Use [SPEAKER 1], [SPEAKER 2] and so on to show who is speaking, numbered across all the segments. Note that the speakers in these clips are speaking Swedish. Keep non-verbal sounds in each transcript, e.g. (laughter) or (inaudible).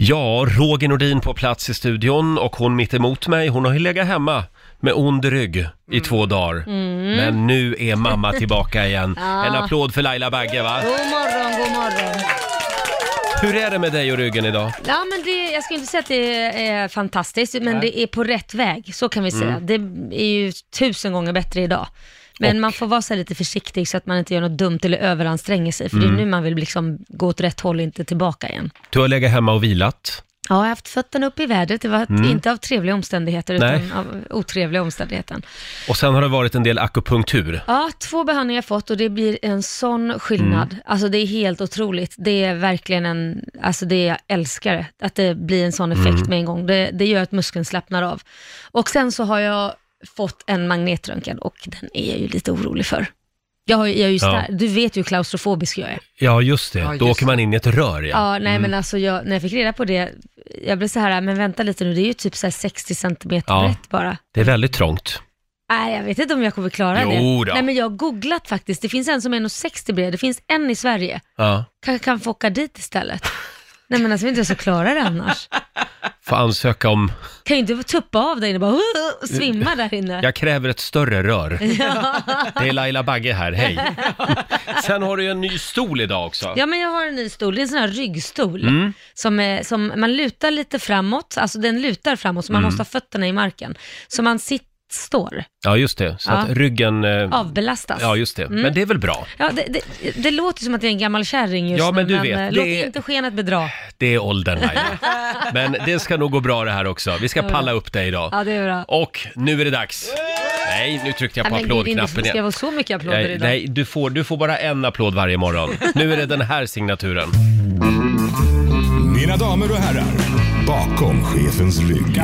[SPEAKER 1] Ja, Roger Nordin på plats i studion och hon mitt emot mig, hon har ju legat hemma med ond rygg i två dagar.
[SPEAKER 2] Mm.
[SPEAKER 1] Men nu är mamma tillbaka igen.
[SPEAKER 2] (laughs) Ja.
[SPEAKER 1] En applåd för Laila Bagge va?
[SPEAKER 2] God morgon, god morgon.
[SPEAKER 1] Hur är det med dig och ryggen idag?
[SPEAKER 2] Ja, men det, jag skulle inte säga att det är fantastiskt, men
[SPEAKER 1] Nej.
[SPEAKER 2] det är på rätt väg. Så kan vi säga.
[SPEAKER 1] Mm.
[SPEAKER 2] Det är ju tusen gånger bättre idag. Men man får vara så här lite försiktig så att man inte gör något dumt eller överanstränger sig. För det
[SPEAKER 1] Mm.
[SPEAKER 2] är nu man vill liksom gå åt rätt håll, inte tillbaka igen.
[SPEAKER 1] Du har legat hemma och vilat.
[SPEAKER 2] Ja, jag har haft fötterna upp i vädret. Det var
[SPEAKER 1] Mm.
[SPEAKER 2] inte av trevliga omständigheter,
[SPEAKER 1] Nej.
[SPEAKER 2] utan av otrevliga omständigheter.
[SPEAKER 1] Och sen har det varit en del akupunktur.
[SPEAKER 2] Ja, två behandlingar jag fått och det blir en sån skillnad. Alltså det är helt otroligt. Det är verkligen en, alltså det jag älskar det, att det blir en sån effekt
[SPEAKER 3] Mm.
[SPEAKER 2] med en gång. Det, det gör att muskeln slappnar av. Och sen så har jag fått en magnetröntgen och den är jag ju lite orolig för. Jag, har, ju- jag är ju
[SPEAKER 1] Ja.
[SPEAKER 2] stark, du vet ju hur klaustrofobisk jag är.
[SPEAKER 1] Ja, just det.
[SPEAKER 2] Ja,
[SPEAKER 1] Då
[SPEAKER 2] just
[SPEAKER 1] åker man in i ett rör ja.
[SPEAKER 2] Ja, nej men alltså jag, när jag fick reda på det, jag blev så här, "Äh, men vänta lite nu, det är ju typ så här 60 centimeter
[SPEAKER 1] Ja.
[SPEAKER 2] brett bara.
[SPEAKER 1] Det är väldigt trångt.
[SPEAKER 2] Nej, jag vet inte om jag kommer klara det.
[SPEAKER 1] Jo då.
[SPEAKER 2] Nej, men jag har googlat faktiskt. Det finns en som är 1,60 bred. Det finns en i Sverige.
[SPEAKER 1] Ja.
[SPEAKER 2] Kanske kan få åka dit istället. Nej, men alltså jag vet inte hur jag ska klara det annars.
[SPEAKER 1] Får ansöka om...
[SPEAKER 2] Kan ju inte tuppa av där inne och bara "Åh", och svimma där inne.
[SPEAKER 1] Jag kräver ett större rör.
[SPEAKER 2] (laughs) Ja.
[SPEAKER 1] Det är Laila Bagge här,
[SPEAKER 2] (laughs)
[SPEAKER 1] hej. Sen har du ju en ny stol idag också.
[SPEAKER 2] ja, men jag har en ny stol. Det är en sån här ryggstol.
[SPEAKER 1] Mm.
[SPEAKER 2] Som, är, som man lutar lite framåt. Alltså den lutar framåt, så man
[SPEAKER 1] Mm.
[SPEAKER 2] måste ha fötterna i marken. Så man sitt, står,
[SPEAKER 1] Ja, just det. Så att
[SPEAKER 2] Ja.
[SPEAKER 1] ryggen... eh,
[SPEAKER 2] avbelastas.
[SPEAKER 1] Ja, just det.
[SPEAKER 2] Mm.
[SPEAKER 1] Men det är väl bra.
[SPEAKER 2] Ja, det, det, det låter som att jag är en gammal kärring just
[SPEAKER 1] Ja, men du
[SPEAKER 2] nu, men
[SPEAKER 1] vet,
[SPEAKER 2] eh,
[SPEAKER 1] det
[SPEAKER 2] låt
[SPEAKER 1] är-
[SPEAKER 2] inte skenet bedra.
[SPEAKER 1] Det är åldern,
[SPEAKER 2] (laughs)
[SPEAKER 1] Laila. Men det ska nog gå bra det här också. Vi ska
[SPEAKER 2] Ja, bra.
[SPEAKER 1] palla upp dig idag.
[SPEAKER 2] Ja, det är bra.
[SPEAKER 1] Och nu är det dags. Nej, nu tryckte jag på
[SPEAKER 2] Nej, men gud, inte
[SPEAKER 1] applådknappen
[SPEAKER 2] Ska det vara
[SPEAKER 1] igen.
[SPEAKER 2] så mycket applåder
[SPEAKER 1] Nej,
[SPEAKER 2] idag?
[SPEAKER 1] nej du, får, du får bara en applåd varje morgon. Nu är det den här signaturen.
[SPEAKER 4] Mina damer och herrar, bakom chefens rygg.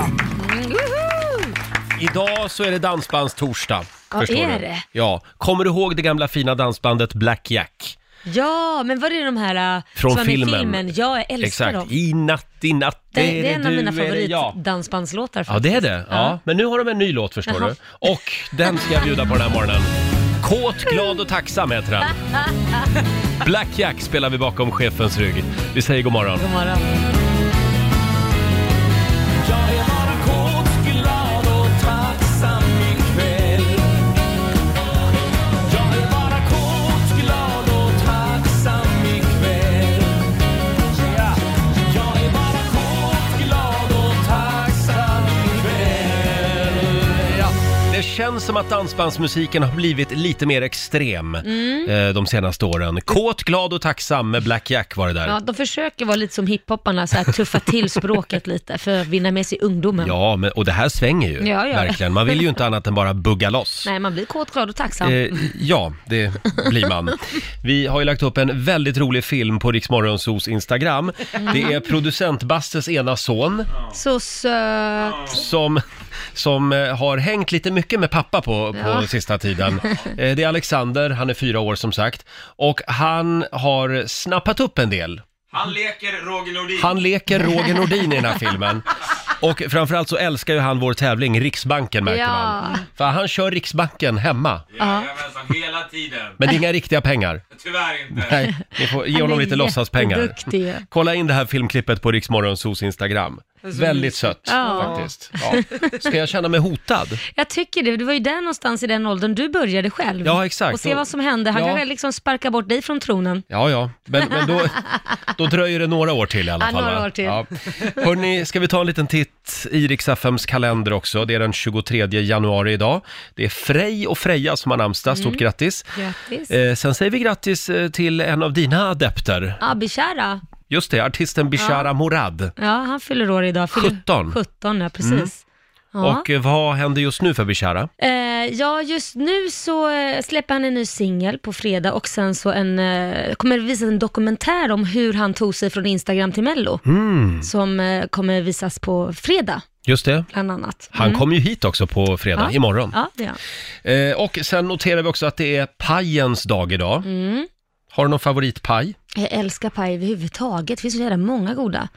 [SPEAKER 1] Idag så är det dansbandstorsdag.
[SPEAKER 2] Ja,
[SPEAKER 1] förstår
[SPEAKER 2] är
[SPEAKER 1] du?
[SPEAKER 2] det?
[SPEAKER 1] Ja. Kommer du ihåg det gamla fina dansbandet Black Jack?
[SPEAKER 2] Ja, men var det de här äh,
[SPEAKER 1] Från
[SPEAKER 2] som var med i
[SPEAKER 1] filmen.
[SPEAKER 2] filmen? Ja, jag älskar
[SPEAKER 1] Exakt.
[SPEAKER 2] dem.
[SPEAKER 1] I natt, i natt,
[SPEAKER 2] Det, det, är en av
[SPEAKER 1] du,
[SPEAKER 2] mina
[SPEAKER 1] är det jag.
[SPEAKER 2] favoritdansbandslåtar
[SPEAKER 1] Ja, det är det. Ja.
[SPEAKER 2] Ja.
[SPEAKER 1] Men nu har de en ny låt förstår
[SPEAKER 2] Jaha.
[SPEAKER 1] du. Och den ska jag bjuda på den här morgonen. Kåt, glad och tacksam heter (laughs) den. Black Jack spelar vi bakom chefens rygg. Vi säger god morgon.
[SPEAKER 2] God morgon.
[SPEAKER 5] Jag är bara kåt, glad och tacksam ikväll Jag är bara kåt, glad och tacksam ikväll Jag är bara kåt, glad och tacksam ikväll
[SPEAKER 1] Ja. Det känns som att dansbandsmusiken har blivit lite mer extrem
[SPEAKER 2] Mm.
[SPEAKER 1] eh, de senaste åren. Kåt, glad och tacksam med Black Jack var det där.
[SPEAKER 2] Ja, de försöker vara lite som hiphopparna, så här, tuffa till språket lite för att vinna med sig ungdomen.
[SPEAKER 1] Ja, men, och det här svänger ju.
[SPEAKER 2] Ja, ja.
[SPEAKER 1] Verkligen. Man vill ju inte annat än bara bugga loss.
[SPEAKER 2] Nej, man blir kåt, glad och tacksam.
[SPEAKER 1] Eh, ja, det blir
[SPEAKER 2] (laughs)
[SPEAKER 1] man. Vi har ju lagt upp en väldigt rolig film på Riksmorgonsos Instagram. Det är producent Bastes ena son
[SPEAKER 2] Så söt.
[SPEAKER 1] som, som eh, har hängt lite mycket med pappa på, på
[SPEAKER 2] Ja.
[SPEAKER 1] sista tiden. Eh, det är Alexander, han är fyra år som sagt. Och han har snappat upp en del.
[SPEAKER 6] Han leker Roger Nordin.
[SPEAKER 1] Han leker Roger Nordin i den här filmen. Och framförallt så älskar ju han vår tävling Riksbanken märker
[SPEAKER 6] Ja.
[SPEAKER 1] man. För han kör Riksbanken hemma.
[SPEAKER 6] Jajamensan, hela tiden.
[SPEAKER 1] Men det är inga riktiga pengar.
[SPEAKER 6] Tyvärr inte.
[SPEAKER 1] Nej, ni får ge
[SPEAKER 6] Han
[SPEAKER 1] honom
[SPEAKER 6] är
[SPEAKER 1] lite låtsaspengar.
[SPEAKER 6] jätteduktig.
[SPEAKER 1] Kolla in det här filmklippet på Riksmorgonsos Instagram.
[SPEAKER 2] Alltså,
[SPEAKER 1] Väldigt
[SPEAKER 2] mysigt.
[SPEAKER 1] sött
[SPEAKER 2] Ja.
[SPEAKER 1] faktiskt. Ja. Ska jag känna mig hotad?
[SPEAKER 2] Jag tycker det, det var ju där någonstans i den åldern du började själv.
[SPEAKER 1] Ja, exakt.
[SPEAKER 2] Och se vad som hände. Han
[SPEAKER 1] Ja.
[SPEAKER 2] kanske liksom sparkar bort dig från tronen.
[SPEAKER 1] Ja, ja, men, men
[SPEAKER 2] (laughs)
[SPEAKER 1] då, då dröjer det några år till i alla
[SPEAKER 2] Ja,
[SPEAKER 1] fall.
[SPEAKER 2] några
[SPEAKER 1] va?
[SPEAKER 2] år till.
[SPEAKER 1] Ja. Hörrni, ska vi ta en liten titt i Rix FMs kalender också. Det är den 23 januari idag. Det är Frej och Freja som har namnsdag, stort
[SPEAKER 2] Mm.
[SPEAKER 1] grattis.
[SPEAKER 2] Grattis.
[SPEAKER 1] Eh, sen säger vi grattis eh, till en av dina adepter.
[SPEAKER 2] Abishara.
[SPEAKER 1] Just det, artisten Bishara
[SPEAKER 2] Ja.
[SPEAKER 1] Morad.
[SPEAKER 2] Ja, han fyller år idag. Fyller
[SPEAKER 1] 17.
[SPEAKER 2] 17, ja precis.
[SPEAKER 1] Mm.
[SPEAKER 2] Ja.
[SPEAKER 1] Och eh, vad händer just nu för Bishara?
[SPEAKER 2] Eh, ja, just nu så eh, släpper han en ny singel på fredag och sen så en, eh, kommer det visas en dokumentär om hur han tog sig från Instagram till Mello.
[SPEAKER 1] Mm.
[SPEAKER 2] Som eh, kommer visas på fredag,
[SPEAKER 1] Just det.
[SPEAKER 2] bland annat.
[SPEAKER 1] Han
[SPEAKER 2] Mm.
[SPEAKER 1] kommer ju hit också på fredag,
[SPEAKER 2] ja.
[SPEAKER 1] imorgon.
[SPEAKER 2] Ja, det är han.
[SPEAKER 1] Eh, och sen noterar vi också att det är pajens dag idag.
[SPEAKER 2] Mm.
[SPEAKER 1] Har du någon favoritpaj?
[SPEAKER 2] Jag älskar paj överhuvudtaget. Det finns så jävla många goda.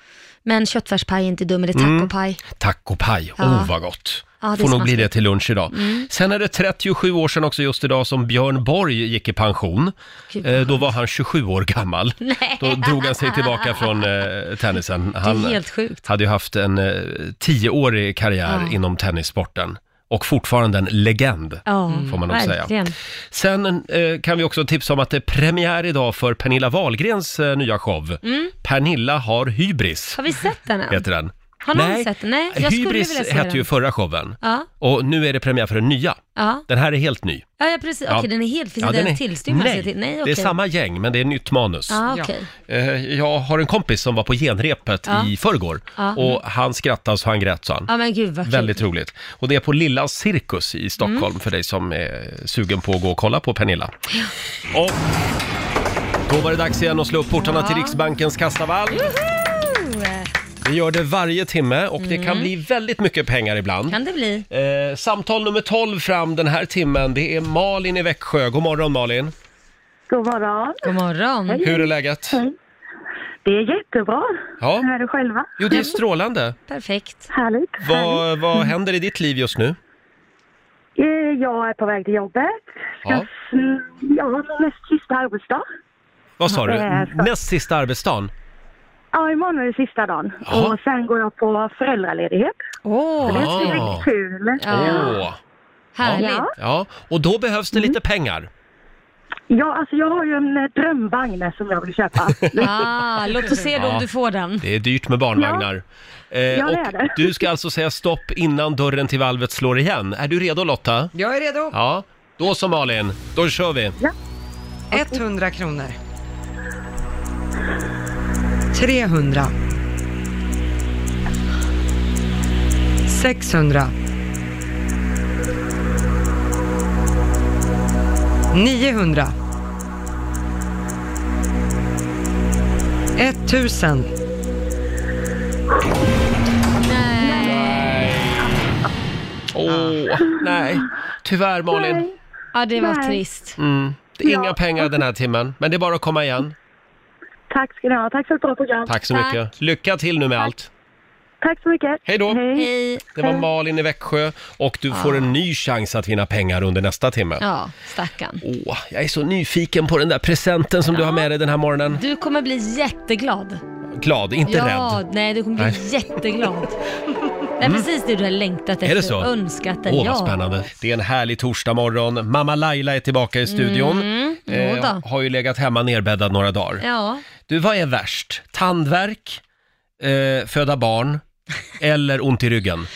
[SPEAKER 2] Men köttfärspaj är inte dum, eller
[SPEAKER 1] Mm.
[SPEAKER 2] tacopaj.
[SPEAKER 1] Tacopaj,
[SPEAKER 2] Ja.
[SPEAKER 1] oh vad gott.
[SPEAKER 2] Ja, det Mm. är
[SPEAKER 1] Får nog
[SPEAKER 2] smaskigt.
[SPEAKER 1] bli det till lunch idag. Sen är det 37 år sedan också just idag som Björn Borg gick i pension.
[SPEAKER 2] Gud, vad
[SPEAKER 1] Eh, då var han 27 år
[SPEAKER 2] (laughs)
[SPEAKER 1] gammal. Då drog han sig tillbaka från eh, tennisen. Han
[SPEAKER 2] helt sjukt.
[SPEAKER 1] hade ju haft en eh, tioårig karriär
[SPEAKER 2] Ja.
[SPEAKER 1] inom tennissporten. Och fortfarande en legend,
[SPEAKER 2] Ja,
[SPEAKER 1] Mm. får man nog säga.
[SPEAKER 2] verkligen.
[SPEAKER 1] Sen eh, kan vi också tipsa om att det är premiär idag för Pernilla Wahlgrens eh, nya show. Pernilla har hybris,
[SPEAKER 2] Mm. Har vi sett den än?
[SPEAKER 1] heter den.
[SPEAKER 2] Har någon sett den? Nej, jag skulle
[SPEAKER 1] hybris
[SPEAKER 2] vilja se
[SPEAKER 1] hette
[SPEAKER 2] den.
[SPEAKER 1] ju förra showen.
[SPEAKER 2] Ja,
[SPEAKER 1] Och nu är det premiär för den nya.
[SPEAKER 2] ja.
[SPEAKER 1] Den här är helt ny.
[SPEAKER 2] Ja, ja precis. Okej,
[SPEAKER 1] Ja.
[SPEAKER 2] den är helt... Finns
[SPEAKER 1] Ja,
[SPEAKER 2] det
[SPEAKER 1] den
[SPEAKER 2] en
[SPEAKER 1] är-
[SPEAKER 2] tillstymmelse
[SPEAKER 1] Nej,
[SPEAKER 2] till? Nej,
[SPEAKER 1] det
[SPEAKER 2] okej.
[SPEAKER 1] är samma gäng men det är nytt manus.
[SPEAKER 2] Ja, okej.
[SPEAKER 1] Eh, Jag har en kompis som var på genrepet
[SPEAKER 2] Ja.
[SPEAKER 1] i förrgår
[SPEAKER 2] Ja. mm.
[SPEAKER 1] och han skrattade så han grät sa han.
[SPEAKER 2] Ja, men gud vad kul. Mm.
[SPEAKER 1] Väldigt roligt. Och det är på Lilla Cirkus i Stockholm för dig som är sugen på att gå och kolla på Pernilla. Och då var det dags igen att slå upp portarna till Riksbankens kassavalv.
[SPEAKER 2] Woho!
[SPEAKER 1] Vi gör det varje timme och det
[SPEAKER 2] Mm.
[SPEAKER 1] kan bli väldigt mycket pengar ibland.
[SPEAKER 2] Kan det bli?
[SPEAKER 1] Eh, samtal nummer 12 fram den här timmen, det är Malin i Växjö. God morgon Malin!
[SPEAKER 3] God morgon.
[SPEAKER 2] God morgon.
[SPEAKER 1] Hur är läget?
[SPEAKER 3] Det är jättebra.
[SPEAKER 1] Ja.
[SPEAKER 3] Här är du själva.
[SPEAKER 1] Jo, det är strålande.
[SPEAKER 2] Perfekt.
[SPEAKER 3] Härligt. härligt.
[SPEAKER 1] Vad, vad händer i ditt liv just nu?
[SPEAKER 3] Eh, Jag är på väg till jobbet.
[SPEAKER 1] Ja.
[SPEAKER 3] Jag, jag har näst sista arbetsdag.
[SPEAKER 1] Vad sa du?
[SPEAKER 3] det är så.
[SPEAKER 1] Näst sista arbetsdagen?
[SPEAKER 3] Ja, imorgon är det sista dagen.
[SPEAKER 1] Ja.
[SPEAKER 3] Och sen går jag på föräldraledighet.
[SPEAKER 2] Åh,
[SPEAKER 1] Ja.
[SPEAKER 2] oh,
[SPEAKER 3] Det är riktigt kul.
[SPEAKER 2] Ja.
[SPEAKER 1] Åh.
[SPEAKER 2] härligt.
[SPEAKER 3] Ja.
[SPEAKER 1] Ja, och då behövs det
[SPEAKER 3] Mm.
[SPEAKER 1] lite pengar.
[SPEAKER 3] Ja, alltså jag har ju en eh, drömvagn som jag
[SPEAKER 1] (laughs)
[SPEAKER 3] vill köpa.
[SPEAKER 2] Ah, låt oss se då
[SPEAKER 1] Ja.
[SPEAKER 2] om du får den.
[SPEAKER 1] Det är dyrt med barnvagnar. Eh,
[SPEAKER 3] Ja, det
[SPEAKER 1] och
[SPEAKER 3] är det.
[SPEAKER 1] Du ska alltså säga stopp innan dörren till valvet slår igen. Är du redo Lotta?
[SPEAKER 7] Jag är redo.
[SPEAKER 1] Ja. Då så Malin, då kör vi.
[SPEAKER 7] 100 kronor. 300. 600. 900. 1000.
[SPEAKER 1] Åh, nej. Tyvärr Malin.
[SPEAKER 2] Ja, det var
[SPEAKER 3] Nej.
[SPEAKER 2] trist.
[SPEAKER 1] Mm. Det är Inga pengar den här timmen, men det är bara att komma igen.
[SPEAKER 3] Tack ska ni ha. Tack för ett bra program.
[SPEAKER 1] Tack så
[SPEAKER 2] Tack.
[SPEAKER 1] mycket. Lycka till nu med allt.
[SPEAKER 3] Tack så mycket.
[SPEAKER 1] Hej då.
[SPEAKER 3] Hej.
[SPEAKER 2] Hej.
[SPEAKER 1] Det var Malin i Växjö och du får en ny chans att vinna pengar under nästa timme.
[SPEAKER 2] Ja, stackarn.
[SPEAKER 1] Åh, jag är så nyfiken på den där presenten som du har med dig den här morgonen.
[SPEAKER 2] Du kommer bli jätteglad.
[SPEAKER 1] Glad, inte
[SPEAKER 2] ja,
[SPEAKER 1] rädd.
[SPEAKER 2] nej du kommer bli
[SPEAKER 1] Nej. (laughs)
[SPEAKER 2] jätteglad. Det är precis det du har längtat efter.
[SPEAKER 1] Är det så?
[SPEAKER 2] Önskat dig.
[SPEAKER 1] Åh, vad
[SPEAKER 2] ja.
[SPEAKER 1] spännande. Det är en härlig torsdagmorgon. Mamma Laila är tillbaka i studion.
[SPEAKER 2] Mm,
[SPEAKER 1] Eh,
[SPEAKER 2] jo då.
[SPEAKER 1] har ju legat hemma nerbäddad några dagar.
[SPEAKER 2] Ja,
[SPEAKER 1] Du, vad är värst? Tandvärk, eh, föda
[SPEAKER 2] (laughs)
[SPEAKER 1] barn eller ont i ryggen?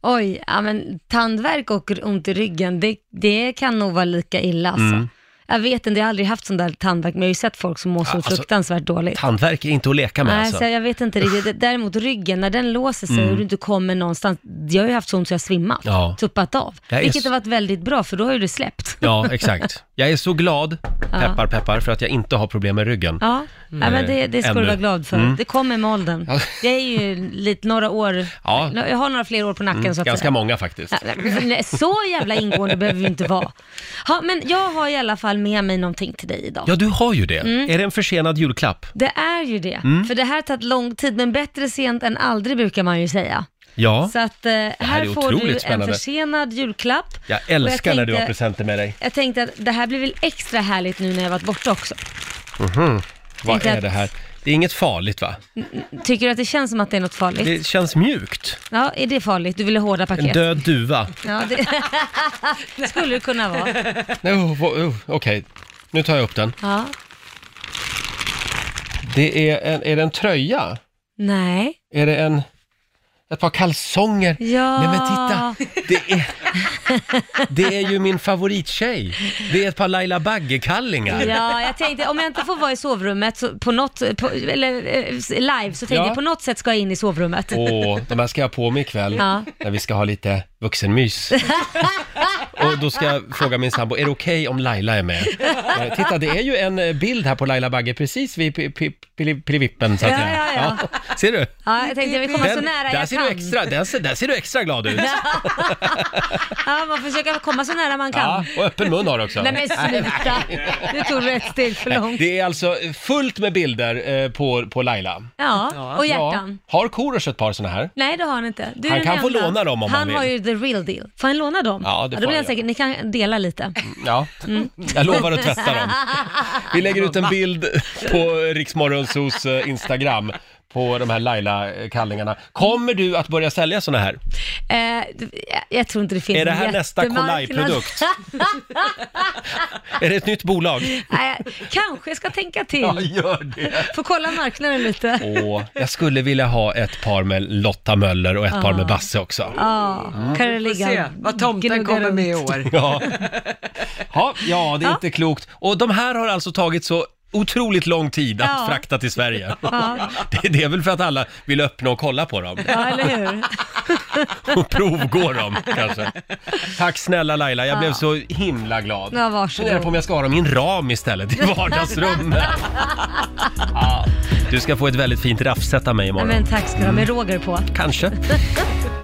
[SPEAKER 2] oj, ja, men tandvärk och ont i ryggen, det, det kan nog vara lika illa alltså.
[SPEAKER 1] Mm.
[SPEAKER 2] Jag vet inte, jag har aldrig haft sån där tandvärk, men jag har ju sett folk som mår så
[SPEAKER 1] alltså,
[SPEAKER 2] fruktansvärt dåligt.
[SPEAKER 1] Tandvärk är inte att leka med
[SPEAKER 2] Nej,
[SPEAKER 1] alltså. Mm.
[SPEAKER 2] så jag vet inte riktigt. Däremot ryggen, när den låser sig och du inte kommer någonstans. Jag har ju haft så ont så jag har svimmat,
[SPEAKER 1] Ja.
[SPEAKER 2] tuppat av.
[SPEAKER 1] Jag är
[SPEAKER 2] Vilket
[SPEAKER 1] så-
[SPEAKER 2] har varit väldigt bra, för då har ju det släppt.
[SPEAKER 1] Ja, exakt. Jag är så glad, peppar peppar, för att jag inte har problem med ryggen.
[SPEAKER 2] Ja, ja men det, det ska
[SPEAKER 1] Ännu.
[SPEAKER 2] du vara glad för.
[SPEAKER 1] Mm.
[SPEAKER 2] Det kommer med åldern. Jag är ju lite, några år,
[SPEAKER 1] Ja. Mm.
[SPEAKER 2] jag har några fler år på nacken så att
[SPEAKER 1] Ganska
[SPEAKER 2] säga.
[SPEAKER 1] många faktiskt.
[SPEAKER 2] Ja, Alltså, nej, Så jävla ingående behöver vi inte vara. Ja, men jag har i alla fall med mig någonting till dig idag.
[SPEAKER 1] Ja, du har ju det.
[SPEAKER 2] Mm.
[SPEAKER 1] Är det en försenad julklapp?
[SPEAKER 2] Det är ju det,
[SPEAKER 1] Mm.
[SPEAKER 2] för det här har tagit lång tid, men bättre sent än aldrig brukar man ju säga.
[SPEAKER 1] Ja.
[SPEAKER 2] Så att eh, här,
[SPEAKER 1] är
[SPEAKER 2] får du
[SPEAKER 1] otroligt
[SPEAKER 2] en
[SPEAKER 1] spännande.
[SPEAKER 2] försenad julklapp.
[SPEAKER 1] Jag
[SPEAKER 2] Och
[SPEAKER 1] älskar när du har
[SPEAKER 2] tänkte-
[SPEAKER 1] presenter med dig.
[SPEAKER 2] Jag tänkte att det här blir väl extra härligt nu när jag varit borta också.
[SPEAKER 1] Vad
[SPEAKER 2] tänkte
[SPEAKER 1] är
[SPEAKER 2] att-
[SPEAKER 1] det här? Det är inget farligt va?
[SPEAKER 2] Tycker du att det känns som att det är något farligt?
[SPEAKER 1] Det känns mjukt.
[SPEAKER 2] Ja, är det farligt? Du vill ha hårda
[SPEAKER 1] En
[SPEAKER 2] paket?
[SPEAKER 1] död duva.
[SPEAKER 2] Ja, det skulle det (laughs) kunna vara.
[SPEAKER 1] Nej, oh, oh, oh, Okej, nu tar jag upp den.
[SPEAKER 2] Ja.
[SPEAKER 1] Det är en, är det en tröja?
[SPEAKER 2] Nej.
[SPEAKER 1] Är det en... Ett par kalsonger?
[SPEAKER 2] Ja.
[SPEAKER 1] Nej men titta! Det är, det är ju min favorittjej. Det är ett par Laila Bagge-kallingar.
[SPEAKER 2] Ja, jag tänkte om jag inte får vara i sovrummet så på något, på, eller eh, live, så tänkte
[SPEAKER 1] Ja.
[SPEAKER 2] jag på något sätt ska jag in i sovrummet.
[SPEAKER 1] Åh, de här ska jag ha på mig ikväll
[SPEAKER 2] Ja.
[SPEAKER 1] när vi ska ha lite
[SPEAKER 2] (laughs)
[SPEAKER 1] vuxenmys. Och då ska jag fråga min sambo, är det okej om Laila är med? Eh, Titta, det är ju en eh, bild här på Laila Bagge precis vid pi- pi- pili- pilivippen. så att
[SPEAKER 2] Ja,
[SPEAKER 1] säga.
[SPEAKER 2] ja, ja.
[SPEAKER 1] Ser du?
[SPEAKER 2] Ja, jag tänkte jag vill komma så
[SPEAKER 1] Den-
[SPEAKER 2] nära
[SPEAKER 1] där,
[SPEAKER 2] jag
[SPEAKER 1] ser
[SPEAKER 2] kan.
[SPEAKER 1] du extra, där, ser, där ser du extra glad ut.
[SPEAKER 2] (laughs) Ja, man försöker komma så nära man kan.
[SPEAKER 1] Ja, och öppen mun har du också.
[SPEAKER 2] Nej men sluta, nu tog du ett steg för långt.
[SPEAKER 1] Det är alltså fullt med bilder eh, på, på Laila.
[SPEAKER 2] Ja, och hjärtan.
[SPEAKER 1] Har Korosh ett par sådana här?
[SPEAKER 2] Nej det har han inte. Du är
[SPEAKER 1] Han
[SPEAKER 2] den
[SPEAKER 1] kan få
[SPEAKER 2] enda.
[SPEAKER 1] låna dem om
[SPEAKER 2] han
[SPEAKER 1] han vill.
[SPEAKER 2] har ju the the real deal. Får han låna dem?
[SPEAKER 1] Ja, det
[SPEAKER 2] ja,
[SPEAKER 1] får
[SPEAKER 2] då blir
[SPEAKER 1] han
[SPEAKER 2] han säkert, ni kan dela lite.
[SPEAKER 1] Ja,
[SPEAKER 2] Mm.
[SPEAKER 1] jag lovar att tvätta dem. Vi lägger ut en bild på Riksmorgonsos eh, Instagram på de här Laila-kallingarna. Kommer du att börja sälja såna här?
[SPEAKER 2] (laughs) Eh, jag- jag tror inte det finns
[SPEAKER 1] Är det här
[SPEAKER 2] en
[SPEAKER 1] nästa
[SPEAKER 2] jättemarknad. (laughs)
[SPEAKER 1] Kolaj-produkt? Är det ett nytt bolag?
[SPEAKER 2] Nej, kanske ska tänka till.
[SPEAKER 1] Ja, gör det.
[SPEAKER 2] Får kolla marknaden lite.
[SPEAKER 1] Åh, jag skulle vilja ha ett par med Lotta Möller och ett par
[SPEAKER 2] Ah.
[SPEAKER 1] med Basse också.
[SPEAKER 2] Ja, kan det
[SPEAKER 7] Får se
[SPEAKER 2] ligga
[SPEAKER 7] vad tomten
[SPEAKER 2] gnugga
[SPEAKER 7] kommer
[SPEAKER 2] runt.
[SPEAKER 7] med i år.
[SPEAKER 1] Ja, ja, ja det är inte klokt. Och de här har alltså tagit så otroligt lång tid att
[SPEAKER 2] Ja.
[SPEAKER 1] frakta till Sverige.
[SPEAKER 2] Ja.
[SPEAKER 1] (laughs) Det, det är väl för att alla vill öppna och kolla på dem.
[SPEAKER 2] Ja, eller hur?
[SPEAKER 1] (laughs) och provgå dem kanske. Tack snälla Laila, jag blev så himla glad.
[SPEAKER 2] Ja, varsågod.
[SPEAKER 1] Funderar på om jag ska ha dem i en ram istället
[SPEAKER 2] (laughs)
[SPEAKER 1] i vardagsrummet. ja. Du ska få ett väldigt fint raffset av mig
[SPEAKER 2] Nej,
[SPEAKER 1] imorgon.
[SPEAKER 2] Men tack ska du ha, med Roger på.
[SPEAKER 1] Kanske.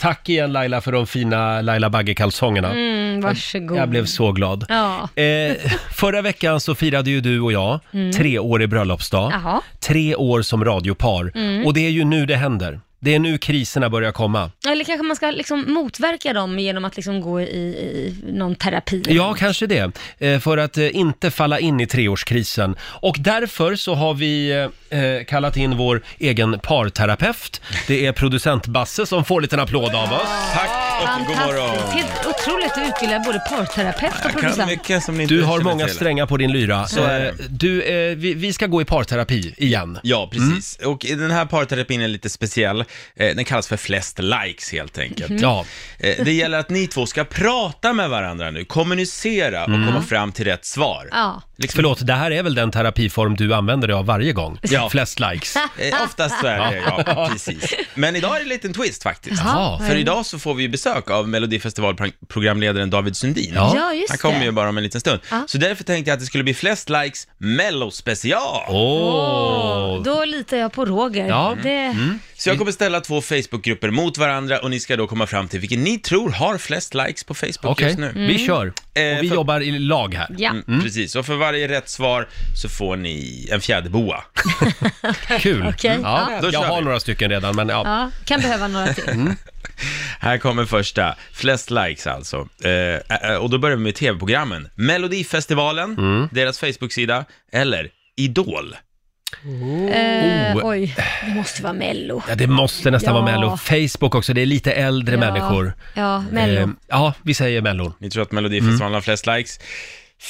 [SPEAKER 1] Tack igen Laila för de fina Laila Bagge-kalsongerna.
[SPEAKER 2] Mm, varsågod.
[SPEAKER 1] Jag blev så glad.
[SPEAKER 2] Ja.
[SPEAKER 1] Eh, förra veckan så firade ju du och jag treårig bröllopsdag.
[SPEAKER 2] Mm. Jaha. Mm.
[SPEAKER 1] Tre år som radiopar. Och det är ju nu det händer. Det är nu kriserna börjar komma.
[SPEAKER 2] Eller kanske man ska liksom motverka dem genom att liksom gå i, i någon terapi.
[SPEAKER 1] Ja, kanske det. Eh, För att eh, inte falla in i treårskrisen. Och därför så har vi eh, eh, kallat in vår egen parterapeut. Det är producent Basse som får en liten applåd av oss.
[SPEAKER 8] Tack och god
[SPEAKER 2] Fantastiskt.
[SPEAKER 8] morgon.
[SPEAKER 2] Helt otroligt att utbilda både parterapeut och
[SPEAKER 8] Jag kan
[SPEAKER 2] producent.
[SPEAKER 8] mycket som ni inte
[SPEAKER 1] Du har
[SPEAKER 8] känner
[SPEAKER 1] många
[SPEAKER 8] till.
[SPEAKER 1] strängar på din lyra.
[SPEAKER 8] är det. Mm.
[SPEAKER 1] Eh, Du, eh, vi, vi ska gå i parterapi igen.
[SPEAKER 8] Ja, precis. Och den här parterapin är lite speciell. Eh, Den kallas för flest likes helt enkelt.
[SPEAKER 1] Mhm. Ja,
[SPEAKER 8] Eh, Det gäller att ni två ska prata med varandra nu, kommunicera och
[SPEAKER 1] Mm.
[SPEAKER 8] komma fram till rätt svar.
[SPEAKER 2] Ja.
[SPEAKER 8] Liksom,
[SPEAKER 1] förlåt, det här är väl den terapiform du använder dig av varje gång?
[SPEAKER 8] Ja.
[SPEAKER 1] Flest
[SPEAKER 8] (laughs)
[SPEAKER 1] likes.
[SPEAKER 8] eh, Oftast så är det, ja, precis. Men idag är det en liten twist faktiskt.
[SPEAKER 1] Jaha.
[SPEAKER 8] För idag så får vi ju besök av Melodifestivalprogramledaren David Sundin.
[SPEAKER 1] Ja.
[SPEAKER 2] Ja, just
[SPEAKER 8] Han kommer
[SPEAKER 2] det.
[SPEAKER 8] ju bara om en liten stund.
[SPEAKER 2] Ja.
[SPEAKER 8] Så därför tänkte jag att det skulle bli flest likes mellospecial.
[SPEAKER 1] Åh!
[SPEAKER 2] Åh, då litar jag på Roger.
[SPEAKER 1] Ja.
[SPEAKER 2] Det,
[SPEAKER 8] Så jag kommer ställa två Facebookgrupper mot varandra och ni ska då komma fram till vilken ni tror har flest likes på Facebook
[SPEAKER 1] Okej,
[SPEAKER 8] just nu.
[SPEAKER 2] Mm.
[SPEAKER 8] Mm. Eh,
[SPEAKER 1] vi kör. Och vi
[SPEAKER 8] för-
[SPEAKER 1] jobbar i lag här.
[SPEAKER 2] ja.
[SPEAKER 8] Mm, Precis, och för varje rätt svar så får ni en fjäderboa.
[SPEAKER 1] Kul.
[SPEAKER 2] Okej,
[SPEAKER 1] Ja,
[SPEAKER 8] Då
[SPEAKER 1] jag
[SPEAKER 8] kör
[SPEAKER 1] har
[SPEAKER 8] vi.
[SPEAKER 1] några stycken redan, men ja.
[SPEAKER 2] ja, kan behöva några till.
[SPEAKER 8] Här kommer första, flest likes alltså. Eh, eh, och då börjar vi med tv-programmen. Melodifestivalen, deras Facebook-sida, eller Idol.
[SPEAKER 2] Eh,
[SPEAKER 1] Oh.
[SPEAKER 2] Oj, det måste vara Mello.
[SPEAKER 1] Ja, det måste nästan
[SPEAKER 2] Ja.
[SPEAKER 1] vara Mello. Facebook också, det är lite äldre
[SPEAKER 2] Ja.
[SPEAKER 1] människor.
[SPEAKER 2] Ja, Mello.
[SPEAKER 1] Eh, ja, vi säger Mellon.
[SPEAKER 8] Ni tror att Melodifestivalen har flest likes?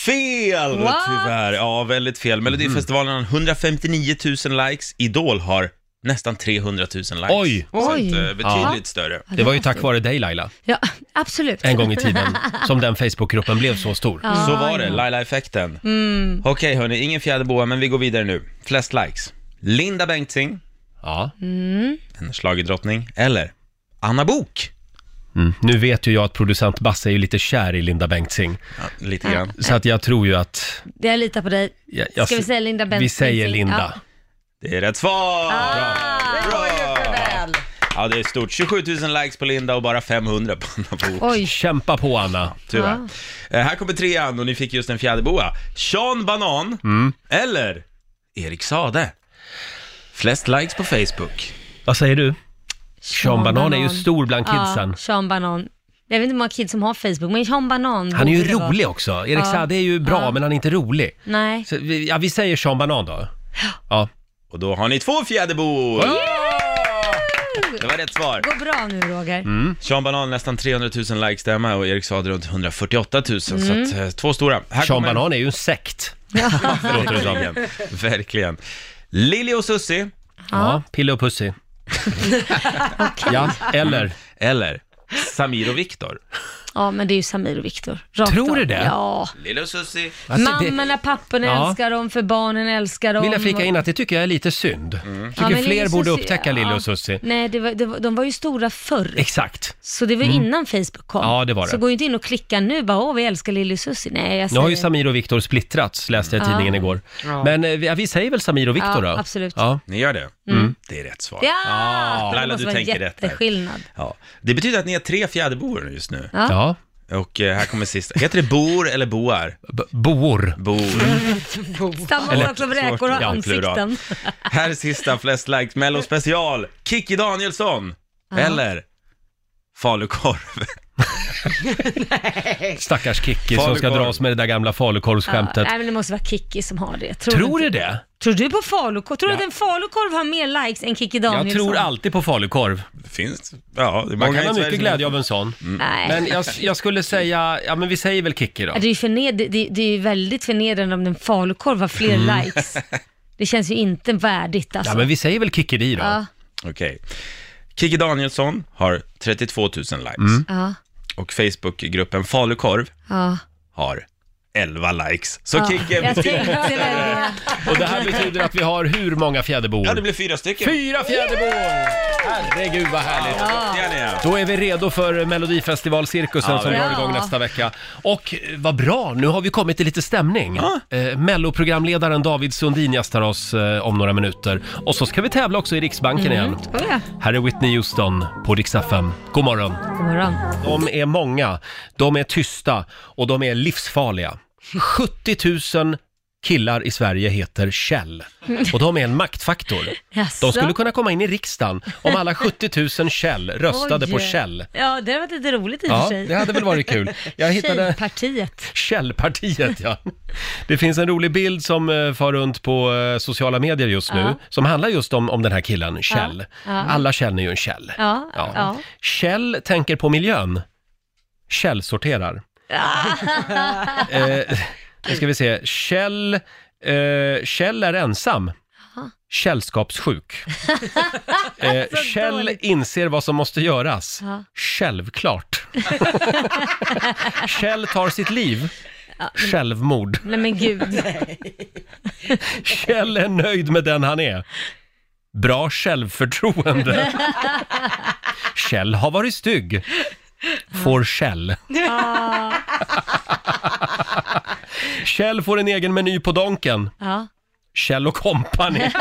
[SPEAKER 8] Fel
[SPEAKER 2] What?
[SPEAKER 8] tyvärr, ja väldigt fel. Melodifestivalen har 159 000 likes, Idol har nästan 300 000 likes.
[SPEAKER 1] Oj.
[SPEAKER 8] Så
[SPEAKER 2] Oj.
[SPEAKER 8] att, eh, betydligt
[SPEAKER 1] Ja.
[SPEAKER 8] större.
[SPEAKER 1] Det var ju tack vare dig Laila,
[SPEAKER 2] Ja, absolut.
[SPEAKER 1] en gång i tiden,
[SPEAKER 2] (laughs)
[SPEAKER 1] som den Facebookgruppen blev så stor.
[SPEAKER 2] Ja,
[SPEAKER 8] Så var det,
[SPEAKER 2] ja.
[SPEAKER 8] Laila-effekten. Okej hörni, ingen fjäderboa men vi går vidare nu. Flest likes. Linda Bengtzing,
[SPEAKER 1] Ja.
[SPEAKER 8] en schlagerdrottning, eller Anna Bok.
[SPEAKER 1] Mm. Nu vet ju jag att producent Basse är ju lite kär i Linda Bengtzing,
[SPEAKER 8] Ja, lite grann.
[SPEAKER 1] så att jag tror ju att...
[SPEAKER 2] Jag litar på dig.
[SPEAKER 1] Jag, jag,
[SPEAKER 2] Ska vi säga Linda Bengtzing?
[SPEAKER 1] Vi säger Linda.
[SPEAKER 2] Ja.
[SPEAKER 8] Det är rätt svar!
[SPEAKER 2] Ah,
[SPEAKER 8] Bra! Ja, det är stort. 27 000 likes på Linda och bara 500 på Anna Bok.
[SPEAKER 2] Oj.
[SPEAKER 1] Kämpa på Anna!
[SPEAKER 8] Tyvärr.
[SPEAKER 2] Ah.
[SPEAKER 8] Eh, Här kommer trean och ni fick just en fjäderboa. Sean Banan
[SPEAKER 1] Mm.
[SPEAKER 8] eller Erik Sade. Flest likes på Facebook.
[SPEAKER 1] Vad säger du? Sean Banan är ju stor bland kidsen.
[SPEAKER 2] Ja, Sean Banan. Jag vet inte hur många kids som har Facebook, men Sean Banan.
[SPEAKER 1] Han är ju
[SPEAKER 2] borde det vara.
[SPEAKER 1] rolig också. Erik
[SPEAKER 2] Ja.
[SPEAKER 1] Saade är ju bra,
[SPEAKER 2] Ja.
[SPEAKER 1] men han är inte rolig.
[SPEAKER 2] Nej.
[SPEAKER 1] Så, vi, ja, vi säger Sean Banan då. Ja.
[SPEAKER 8] Och då har ni två fjäderbor! Det var rätt svar.
[SPEAKER 2] Går bra nu Roger.
[SPEAKER 1] Mm.
[SPEAKER 8] Sean Banan nästan 300 000 likes där med och Erik Sade runt 148 000. Så
[SPEAKER 2] Mm.
[SPEAKER 8] att, eh, två stora. Här
[SPEAKER 1] Sean
[SPEAKER 8] kommer-
[SPEAKER 1] Banan är ju en sekt. låter det som.
[SPEAKER 8] Verkligen. Verkligen. Lili och Susie
[SPEAKER 1] Ja, Pille och
[SPEAKER 2] (laughs)
[SPEAKER 1] Pussy. Ja, eller?
[SPEAKER 8] eller Samir och Viktor.
[SPEAKER 2] Ja, men det är ju Samir och Viktor. Rakt
[SPEAKER 1] Tror du
[SPEAKER 2] av.
[SPEAKER 1] det?
[SPEAKER 2] Ja.
[SPEAKER 8] Lili och Susie.
[SPEAKER 1] Alltså, det,
[SPEAKER 2] Mammorna, papporna
[SPEAKER 1] Ja.
[SPEAKER 2] älskar dem, för barnen älskar dem.
[SPEAKER 1] vill jag flika in att det tycker jag är lite synd.
[SPEAKER 8] Mm.
[SPEAKER 2] Ja,
[SPEAKER 1] Tycker
[SPEAKER 2] men
[SPEAKER 1] fler
[SPEAKER 2] Lille
[SPEAKER 1] borde
[SPEAKER 2] Susie-
[SPEAKER 1] upptäcka Lille
[SPEAKER 2] ja.
[SPEAKER 1] och Susie.
[SPEAKER 2] Nej, det var, det var, de var ju stora förr.
[SPEAKER 1] Exakt.
[SPEAKER 2] Så det var innan Facebook kom.
[SPEAKER 1] Mm. Ja, det var det.
[SPEAKER 2] Så gå ju inte in och klicka nu bara, åh vi älskar Lille Susie. Nej, jag
[SPEAKER 1] Nu
[SPEAKER 2] säger...
[SPEAKER 1] har ju Samir och Viktor splittrats, läste jag i tidningen igår. Men eh, vi- ja, vi säger väl Samir och Viktor
[SPEAKER 2] Ja,
[SPEAKER 1] då?
[SPEAKER 2] absolut.
[SPEAKER 1] Ja.
[SPEAKER 8] Ni gör det? Det är rätt svar.
[SPEAKER 2] Mm. Ja!
[SPEAKER 1] Ah.
[SPEAKER 2] Det
[SPEAKER 8] Laila,
[SPEAKER 2] måste
[SPEAKER 8] du
[SPEAKER 2] vara en
[SPEAKER 8] tänker rätt där.
[SPEAKER 2] jätteskillnad.
[SPEAKER 8] Ja. Det betyder att ni är tre fjäderbor just nu.
[SPEAKER 2] Ja.
[SPEAKER 1] ja.
[SPEAKER 8] Och eh, här kommer sista. Heter det bor eller boar?
[SPEAKER 1] B- boor.
[SPEAKER 8] Bor.
[SPEAKER 2] Mm. Samma sak som räkor och
[SPEAKER 8] ja,
[SPEAKER 2] ansikten.
[SPEAKER 8] Här är sista flest likes Mello special. Kikki Danielsson. Eller falukorv.
[SPEAKER 1] Stackars Kikki som ska
[SPEAKER 8] Falukorv.
[SPEAKER 1] dras med det där gamla
[SPEAKER 2] Ja,
[SPEAKER 1] falukorvsskämtet.
[SPEAKER 2] nej, men det måste vara Kikki som har det.
[SPEAKER 1] Tror
[SPEAKER 2] du
[SPEAKER 1] du
[SPEAKER 2] inte?
[SPEAKER 1] det?
[SPEAKER 2] Tror du på falukorv? Tror du
[SPEAKER 1] Ja.
[SPEAKER 2] att en falukorv har mer likes än Kikki
[SPEAKER 1] Jag
[SPEAKER 2] Danielsson?
[SPEAKER 1] tror alltid på falukorv.
[SPEAKER 8] Det finns, ja, det är Mm.
[SPEAKER 1] Man
[SPEAKER 8] många
[SPEAKER 1] kan
[SPEAKER 8] i
[SPEAKER 1] ha
[SPEAKER 8] Sverige
[SPEAKER 1] mycket
[SPEAKER 8] som-
[SPEAKER 1] glädje av en sån.
[SPEAKER 2] Nej.
[SPEAKER 1] Men jag, jag skulle säga, ja men vi säger väl Kikki då.
[SPEAKER 2] Ja, Det är ju förned... det, det- det är ju väldigt förnedrande om en falukorv har fler likes.
[SPEAKER 1] (laughs)
[SPEAKER 2] Det känns ju inte värdigt alltså.
[SPEAKER 1] Mm. Ja men vi säger väl Kikki Di då.
[SPEAKER 2] Ja,
[SPEAKER 8] Okej. Kikki Danielsson har 32 000 likes
[SPEAKER 1] Mm.
[SPEAKER 2] ja,
[SPEAKER 8] och Facebookgruppen Falukorv
[SPEAKER 2] ja.
[SPEAKER 8] har 11 likes. Så
[SPEAKER 2] ja.
[SPEAKER 8] Kikki är
[SPEAKER 2] Jag
[SPEAKER 8] betydligt...
[SPEAKER 2] tänkte väl
[SPEAKER 1] (laughs)
[SPEAKER 2] det.
[SPEAKER 1] Och det här betyder att vi har hur många fjäderbor?
[SPEAKER 8] Ja, det blir fyra stycken.
[SPEAKER 1] Fyra fjäderbor! Herregud vad härligt!
[SPEAKER 8] Duktiga ni är.
[SPEAKER 1] Då är vi redo för Melodifestivalcirkusen som
[SPEAKER 2] bra.
[SPEAKER 1] drar igång nästa vecka. Och eh, vad bra, nu har vi kommit till lite stämning. Eh, Melloprogramledaren David Sundin gästar oss eh, om några minuter. Och så ska vi tävla också i Riksbanken
[SPEAKER 8] Mm.
[SPEAKER 1] igen.
[SPEAKER 2] Ska vi det?
[SPEAKER 1] Här är Whitney Houston på Dix FM. God morgon!
[SPEAKER 2] God morgon.
[SPEAKER 1] De är många, de är tysta och de är livsfarliga. 70 000 killar i Sverige heter Kjell och de är en maktfaktor. De
[SPEAKER 2] Jaså?
[SPEAKER 1] skulle kunna komma in i riksdagen om alla 70 000 Kjell röstade
[SPEAKER 2] Oj.
[SPEAKER 1] på Kjell.
[SPEAKER 2] Ja, det hade varit lite roligt i och
[SPEAKER 1] Ja,
[SPEAKER 2] för sig.
[SPEAKER 1] det hade väl varit kul. Jag hittade
[SPEAKER 2] Tjejpartiet.
[SPEAKER 1] Kjellpartiet, ja. Det finns en rolig bild som eh, far runt på eh, sociala medier just nu, som handlar just om, om den här killen, Kjell. Alla känner ju en Kjell.
[SPEAKER 2] Ja, ja.
[SPEAKER 1] Kjell tänker på miljön. Kjell
[SPEAKER 2] (laughs)
[SPEAKER 1] sorterar. eh, nu ska vi se. Kjell, eh, Kjell är ensam.
[SPEAKER 2] (laughs)
[SPEAKER 1] Källskapssjuk. eh, Kjell
[SPEAKER 2] dåligt.
[SPEAKER 1] inser vad som måste göras.
[SPEAKER 2] Ja.
[SPEAKER 1] Självklart.
[SPEAKER 2] (laughs)
[SPEAKER 1] Kjell tar sitt liv. Självmord.
[SPEAKER 2] Nej men gud.
[SPEAKER 1] Kjell är nöjd med den han är. Bra självförtroende. Kjell har varit stygg. Får Kjell. Kjell får en egen meny på Donken.
[SPEAKER 2] Ja.
[SPEAKER 1] Kjell och kompani.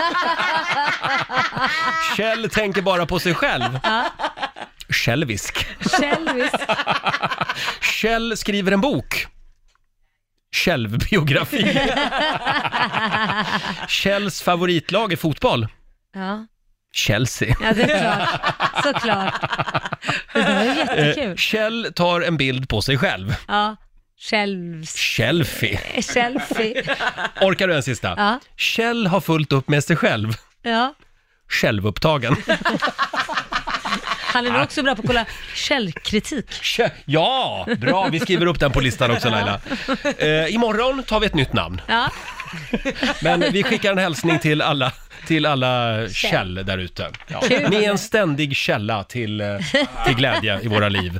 [SPEAKER 1] Kjell tänker bara på sig själv. Kjellvisk.
[SPEAKER 2] Kjellvis.
[SPEAKER 1] Kjell skriver en bok. Självbiografi. Kjells favoritlag är fotboll.
[SPEAKER 2] Ja.
[SPEAKER 1] Chelsea.
[SPEAKER 2] ja, det är klart. Såklart. Det där var
[SPEAKER 1] Eh,
[SPEAKER 2] jättekul.
[SPEAKER 1] Kjell tar en bild på sig själv.
[SPEAKER 2] Ja. Kjellvis.
[SPEAKER 1] Kjellfi.
[SPEAKER 2] Selfie.
[SPEAKER 1] Orkar du en sista?
[SPEAKER 2] Ja.
[SPEAKER 1] Kjell har fullt upp med sig själv.
[SPEAKER 2] Ja.
[SPEAKER 1] Självupptagen.
[SPEAKER 2] Han är nog också bra på att kolla källkritik.
[SPEAKER 1] Kjell- Ja, bra. Vi skriver upp den på listan också Laila. Eh, imorgon tar vi ett nytt namn.
[SPEAKER 2] Ja.
[SPEAKER 1] Men vi skickar en hälsning till alla, till alla Kjell där ute. Ja. Ni är en ständig källa till, eh, till glädje i våra liv.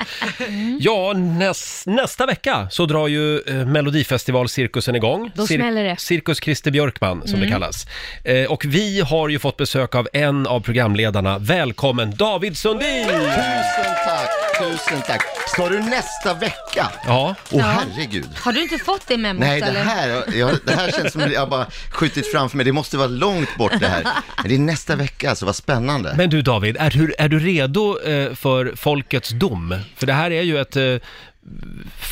[SPEAKER 1] Ja, näs, nästa vecka så drar ju eh, Melodifestivalcirkusen igång.
[SPEAKER 2] Då smäller det. Mm.
[SPEAKER 1] Cirkus Christer Björkman, som det kallas. Eh, och vi har ju fått besök av en av programledarna. Välkommen David Sundin!
[SPEAKER 9] Tusen tack, tusen tack. Ska du nästa vecka?
[SPEAKER 1] Ja,
[SPEAKER 9] Åh
[SPEAKER 2] Ja.
[SPEAKER 9] herregud.
[SPEAKER 2] Har du inte fått det memot
[SPEAKER 9] Nej, det
[SPEAKER 2] eller?
[SPEAKER 9] här, jag, det här känns som att jag bara skjutit framför mig. Det måste vara långt bort det här. Men det är nästa vecka, alltså vad spännande.
[SPEAKER 1] men du David, är du, är du redo eh, för folkets dom? För det här är ju ett eh,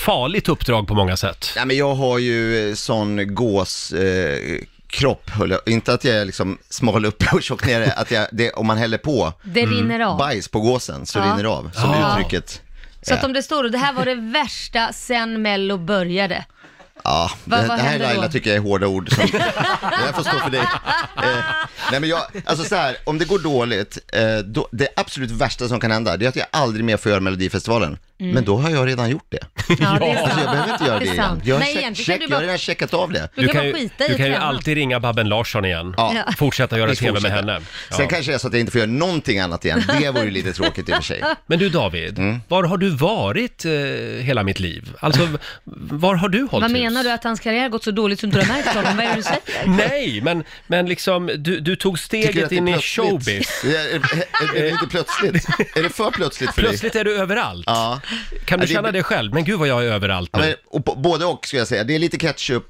[SPEAKER 1] farligt uppdrag på många sätt.
[SPEAKER 9] Nej, men jag har ju eh, sån gås... Eh, kropp, höll jag. inte att jag är liksom smal uppe och tjock nere, att jag, det, om man häller på
[SPEAKER 2] Det rinner av.
[SPEAKER 9] bajs på gåsen så
[SPEAKER 2] Ja.
[SPEAKER 9] rinner det av, som
[SPEAKER 1] Ja.
[SPEAKER 9] uttrycket.
[SPEAKER 2] Så att om det står då, det här var det värsta sen Mello började.
[SPEAKER 9] Ja,
[SPEAKER 2] Vad-
[SPEAKER 9] det,
[SPEAKER 2] vad
[SPEAKER 9] det här
[SPEAKER 2] händer då?
[SPEAKER 9] Laila tycker jag är hårda ord.
[SPEAKER 2] (laughs)
[SPEAKER 9] Som, det här får stå för dig. Eh, nej men jag, alltså så här, om det går dåligt, eh, då, det absolut värsta som kan hända, det är att jag aldrig mer får göra Melodifestivalen. Men då har jag redan gjort det.
[SPEAKER 2] Ja, Mm. det är sant.
[SPEAKER 9] Alltså jag behöver inte göra det
[SPEAKER 2] Det är
[SPEAKER 9] igen.
[SPEAKER 2] sant.
[SPEAKER 9] Jag har,
[SPEAKER 2] Nej,
[SPEAKER 9] check,
[SPEAKER 2] egentligen kan
[SPEAKER 9] check,
[SPEAKER 2] du
[SPEAKER 9] jag har
[SPEAKER 2] bara-
[SPEAKER 9] redan checkat av det.
[SPEAKER 2] Du, kan,
[SPEAKER 1] ju,
[SPEAKER 2] bara skita i
[SPEAKER 1] du kan ju
[SPEAKER 2] tränaren.
[SPEAKER 1] alltid ringa Babben Larsson igen.
[SPEAKER 9] Ja.
[SPEAKER 1] Fortsätta göra
[SPEAKER 9] Vi
[SPEAKER 1] tv med
[SPEAKER 9] fortsätter.
[SPEAKER 1] henne. Ja.
[SPEAKER 9] Sen kanske det är så att jag inte får göra någonting annat igen. Det vore ju lite tråkigt i och för sig.
[SPEAKER 1] Men du David,
[SPEAKER 9] Mm.
[SPEAKER 1] var har du varit eh, hela mitt liv? Alltså, v- var har du hållit
[SPEAKER 2] Vad
[SPEAKER 1] hus?
[SPEAKER 2] menar du? Att hans karriär har gått så dåligt som du inte har märkt honom? Vad är det du (laughs) säger?
[SPEAKER 1] Nej, men, men liksom, du, du tog
[SPEAKER 9] Tycker du att
[SPEAKER 1] steget
[SPEAKER 9] det är
[SPEAKER 1] in i
[SPEAKER 9] plötsligt?
[SPEAKER 1] showbiz.
[SPEAKER 9] Är, är, är, är det inte
[SPEAKER 1] (laughs)
[SPEAKER 9] plötsligt? Är det för plötsligt för dig?
[SPEAKER 1] Plötsligt är du överallt.
[SPEAKER 9] Ja.
[SPEAKER 1] Kan du
[SPEAKER 9] Ja, det-
[SPEAKER 1] känna det själv? Men gud vad jag är överallt
[SPEAKER 9] Ja,
[SPEAKER 1] nu.
[SPEAKER 9] men, och på, både och skulle jag säga. Det är lite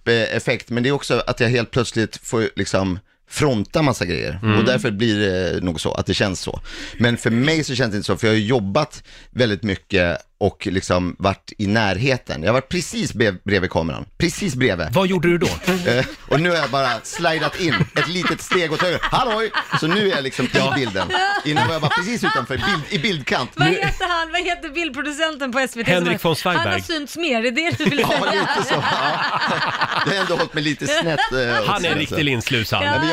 [SPEAKER 9] ketchup-effekt, men det är också att jag helt plötsligt får liksom fronta massa grejer.
[SPEAKER 1] Mm.
[SPEAKER 9] Och därför blir det nog så, att det känns så. Men för mig så känns det inte så, för jag har ju jobbat väldigt mycket och liksom varit i närheten. Jag har varit precis be- bredvid kameran, precis bredvid.
[SPEAKER 1] Vad gjorde
[SPEAKER 9] (laughs)
[SPEAKER 1] du då?
[SPEAKER 9] Eh, och nu har jag bara slidat in ett litet steg åt höger. Halloj! Så nu är jag liksom i bilden. Innan var jag bara precis utanför, bild, i bildkant.
[SPEAKER 2] Vad heter han? Vad heter bildproducenten på SVT?
[SPEAKER 1] Henrik von Zweigberg.
[SPEAKER 2] Han har synts mer, är det det du vill
[SPEAKER 9] Ja,
[SPEAKER 2] säga?
[SPEAKER 9] lite så. Ja. Jag har ändå hållit mig lite snett. eh,
[SPEAKER 1] Han
[SPEAKER 9] åt
[SPEAKER 1] är en
[SPEAKER 9] sidan, så.
[SPEAKER 1] riktig linsluss han.
[SPEAKER 9] Nej, men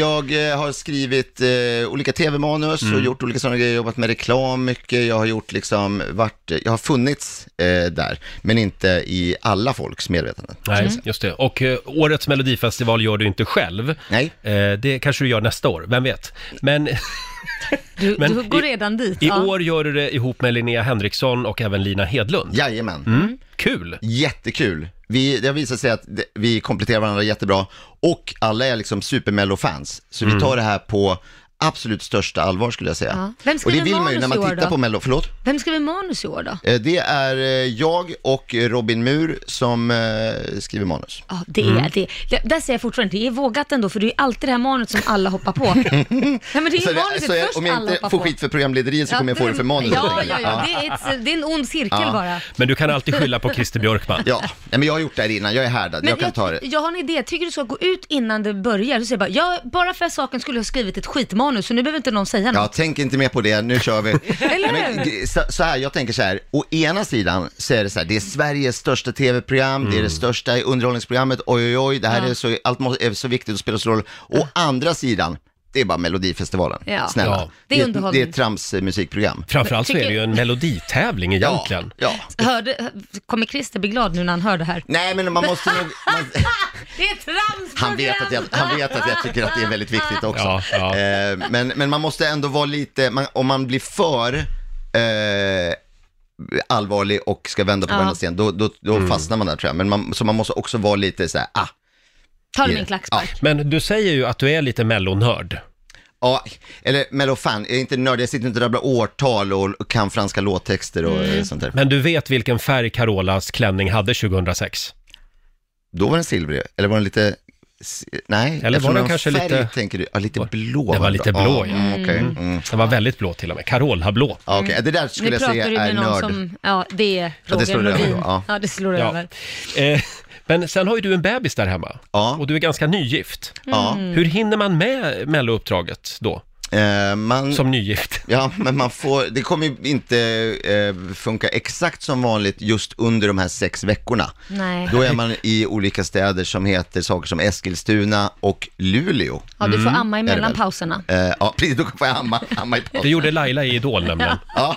[SPEAKER 9] jag, jag eh, har skrivit eh, olika tv-manus och gjort olika sådana grejer, jobbat med reklam mycket, jag har gjort liksom, vart, jag har funnits eh, där, men inte i alla folks medvetande.
[SPEAKER 1] Nej,
[SPEAKER 2] Mm.
[SPEAKER 1] just det. Och eh, årets melodifestival gör du inte själv.
[SPEAKER 9] Nej.
[SPEAKER 1] Eh, det kanske du gör nästa år, vem vet? Men
[SPEAKER 2] Du,
[SPEAKER 1] Men
[SPEAKER 2] du går
[SPEAKER 1] i-
[SPEAKER 2] redan dit.
[SPEAKER 1] i
[SPEAKER 2] ja.
[SPEAKER 1] år gör du det ihop med Linnea Henriksson och även Lina Hedlund.
[SPEAKER 9] Jajamän.
[SPEAKER 1] Kul!
[SPEAKER 9] Jättekul. Vi, det har visat sig att det- vi kompletterar varandra jättebra och alla är liksom supermello-fans. Så vi tar det här på absolut största allvar skulle jag säga.
[SPEAKER 2] Ja. Vem
[SPEAKER 9] och det
[SPEAKER 2] skriver
[SPEAKER 9] vill man ju när
[SPEAKER 2] manus i
[SPEAKER 9] man
[SPEAKER 2] år
[SPEAKER 9] tittar
[SPEAKER 2] då?
[SPEAKER 9] på mello, förlåt?
[SPEAKER 2] Vem skriver manus i år då?
[SPEAKER 9] Eh, Det är eh, jag och Robin Mur som eh, skriver manus.
[SPEAKER 2] Ja, det är det. Ja, Där säger jag fortfarande, det är vågat ändå, för det är ju alltid det här manuset som alla hoppar (laughs) på. Nej men det är
[SPEAKER 9] Så
[SPEAKER 2] ju
[SPEAKER 9] det-
[SPEAKER 2] manuset
[SPEAKER 9] så jag,
[SPEAKER 2] först
[SPEAKER 9] om jag
[SPEAKER 2] alla
[SPEAKER 9] inte
[SPEAKER 2] hoppar
[SPEAKER 9] får
[SPEAKER 2] på.
[SPEAKER 9] skit för programlederiet så kommer jag få det för manus.
[SPEAKER 2] Ja,
[SPEAKER 9] helt
[SPEAKER 2] ja,
[SPEAKER 9] enkelt.
[SPEAKER 2] ja. Det, är ett, det är en ond cirkel
[SPEAKER 9] Ja.
[SPEAKER 2] bara.
[SPEAKER 1] Men du kan alltid skylla på Christer Björkman.
[SPEAKER 9] Ja, nej, men jag har gjort det här innan, jag är härdad, jag kan ta det.
[SPEAKER 2] jag har en idé, jag tycker du ska gå ut innan det börjar. Du säger bara, jag, bara för saken skulle jag ha skrivit ett skitmanus, så nu behöver inte någon säga något.
[SPEAKER 9] Ja, tänk inte mer på det, nu kör vi.
[SPEAKER 2] Eller
[SPEAKER 9] Nej, men,
[SPEAKER 2] hur?
[SPEAKER 9] gre- så, så här, jag tänker så här, å ena sidan så är det så här, det är Sveriges största tv-program, det är
[SPEAKER 1] Mm.
[SPEAKER 9] det största underhållningsprogrammet, oj oj oj, det här
[SPEAKER 2] Ja.
[SPEAKER 9] är, så, allt må, är så viktigt och spelar så roll. Å andra sidan, det är bara Melodifestivalen,
[SPEAKER 2] Ja.
[SPEAKER 9] snälla.
[SPEAKER 1] Ja.
[SPEAKER 2] Det är
[SPEAKER 9] Det, är, det
[SPEAKER 2] underhållning.
[SPEAKER 9] är tramsmusikprogram.
[SPEAKER 1] Framförallt så är
[SPEAKER 2] Tycker-
[SPEAKER 1] det ju en meloditävling egentligen.
[SPEAKER 9] Ja, ja.
[SPEAKER 2] Hörde, kommer Christer bli glad nu när han hör det här?
[SPEAKER 9] Nej men man måste nog, man,
[SPEAKER 2] (laughs) Det är trams
[SPEAKER 9] han, vet att jag, han vet att jag tycker att det är väldigt viktigt också.
[SPEAKER 1] Ja, ja.
[SPEAKER 9] Eh, men, men man måste ändå vara lite, man, om man blir för eh, allvarlig och ska vända på
[SPEAKER 2] Ja.
[SPEAKER 9] varenda sten, då, då, då
[SPEAKER 1] Mm.
[SPEAKER 9] fastnar man där tror jag. Men man, så man måste också vara lite så här, ah,
[SPEAKER 2] Ta det med
[SPEAKER 9] Ja.
[SPEAKER 2] en klackspark.
[SPEAKER 1] Men du säger ju att du är lite mellonörd.
[SPEAKER 9] ja, eller men vad fan, jag är inte nörd, jag sitter inte och rabblar årtal och, och kan franska låttexter och
[SPEAKER 1] Mm.
[SPEAKER 9] eh, sånt där.
[SPEAKER 1] Men du vet vilken färg Carolas klänning hade 2006?
[SPEAKER 9] Då var den silvrig, eller var den lite, s- nej,
[SPEAKER 1] Eller var
[SPEAKER 9] eftersom
[SPEAKER 1] den
[SPEAKER 9] har
[SPEAKER 1] kanske
[SPEAKER 9] färg,
[SPEAKER 1] lite-
[SPEAKER 9] tänker du, ja, lite blå.
[SPEAKER 1] Den var
[SPEAKER 9] det
[SPEAKER 1] lite
[SPEAKER 9] bra.
[SPEAKER 1] blå, ja.
[SPEAKER 9] mm, okej, mm.
[SPEAKER 1] Den var väldigt blå till och med. Carola blå.
[SPEAKER 9] Ja, okej. Det där
[SPEAKER 2] Nu
[SPEAKER 9] skulle jag
[SPEAKER 2] pratar
[SPEAKER 9] säga
[SPEAKER 2] du
[SPEAKER 9] är
[SPEAKER 2] med någon
[SPEAKER 9] nörd.
[SPEAKER 2] som, ja det är
[SPEAKER 9] Ja, det
[SPEAKER 2] Roger
[SPEAKER 9] slår över
[SPEAKER 2] Nordin.
[SPEAKER 9] då, ja.
[SPEAKER 2] Ja, det slår
[SPEAKER 1] Ja.
[SPEAKER 2] över.
[SPEAKER 1] Eh, men sen har ju du en bebis där hemma.
[SPEAKER 9] Ja.
[SPEAKER 1] Och du är ganska nygift.
[SPEAKER 9] Ja.
[SPEAKER 1] Hur hinner man med mellouppdraget då?
[SPEAKER 9] Eh, man,
[SPEAKER 1] Som nygift?
[SPEAKER 9] Ja, men man får, det kommer ju inte eh, funka exakt som vanligt just under de här sex veckorna.
[SPEAKER 2] Nej.
[SPEAKER 9] Då är man i olika städer som heter saker som Eskilstuna och Luleå.
[SPEAKER 2] Ja, du får amma
[SPEAKER 9] Mm, Är det
[SPEAKER 2] emellan
[SPEAKER 9] väl?
[SPEAKER 2] pauserna.
[SPEAKER 9] Eh, ja, precis, då får jag amma, amma i paus.
[SPEAKER 1] Det gjorde Laila i Idol nämligen.
[SPEAKER 9] Ja,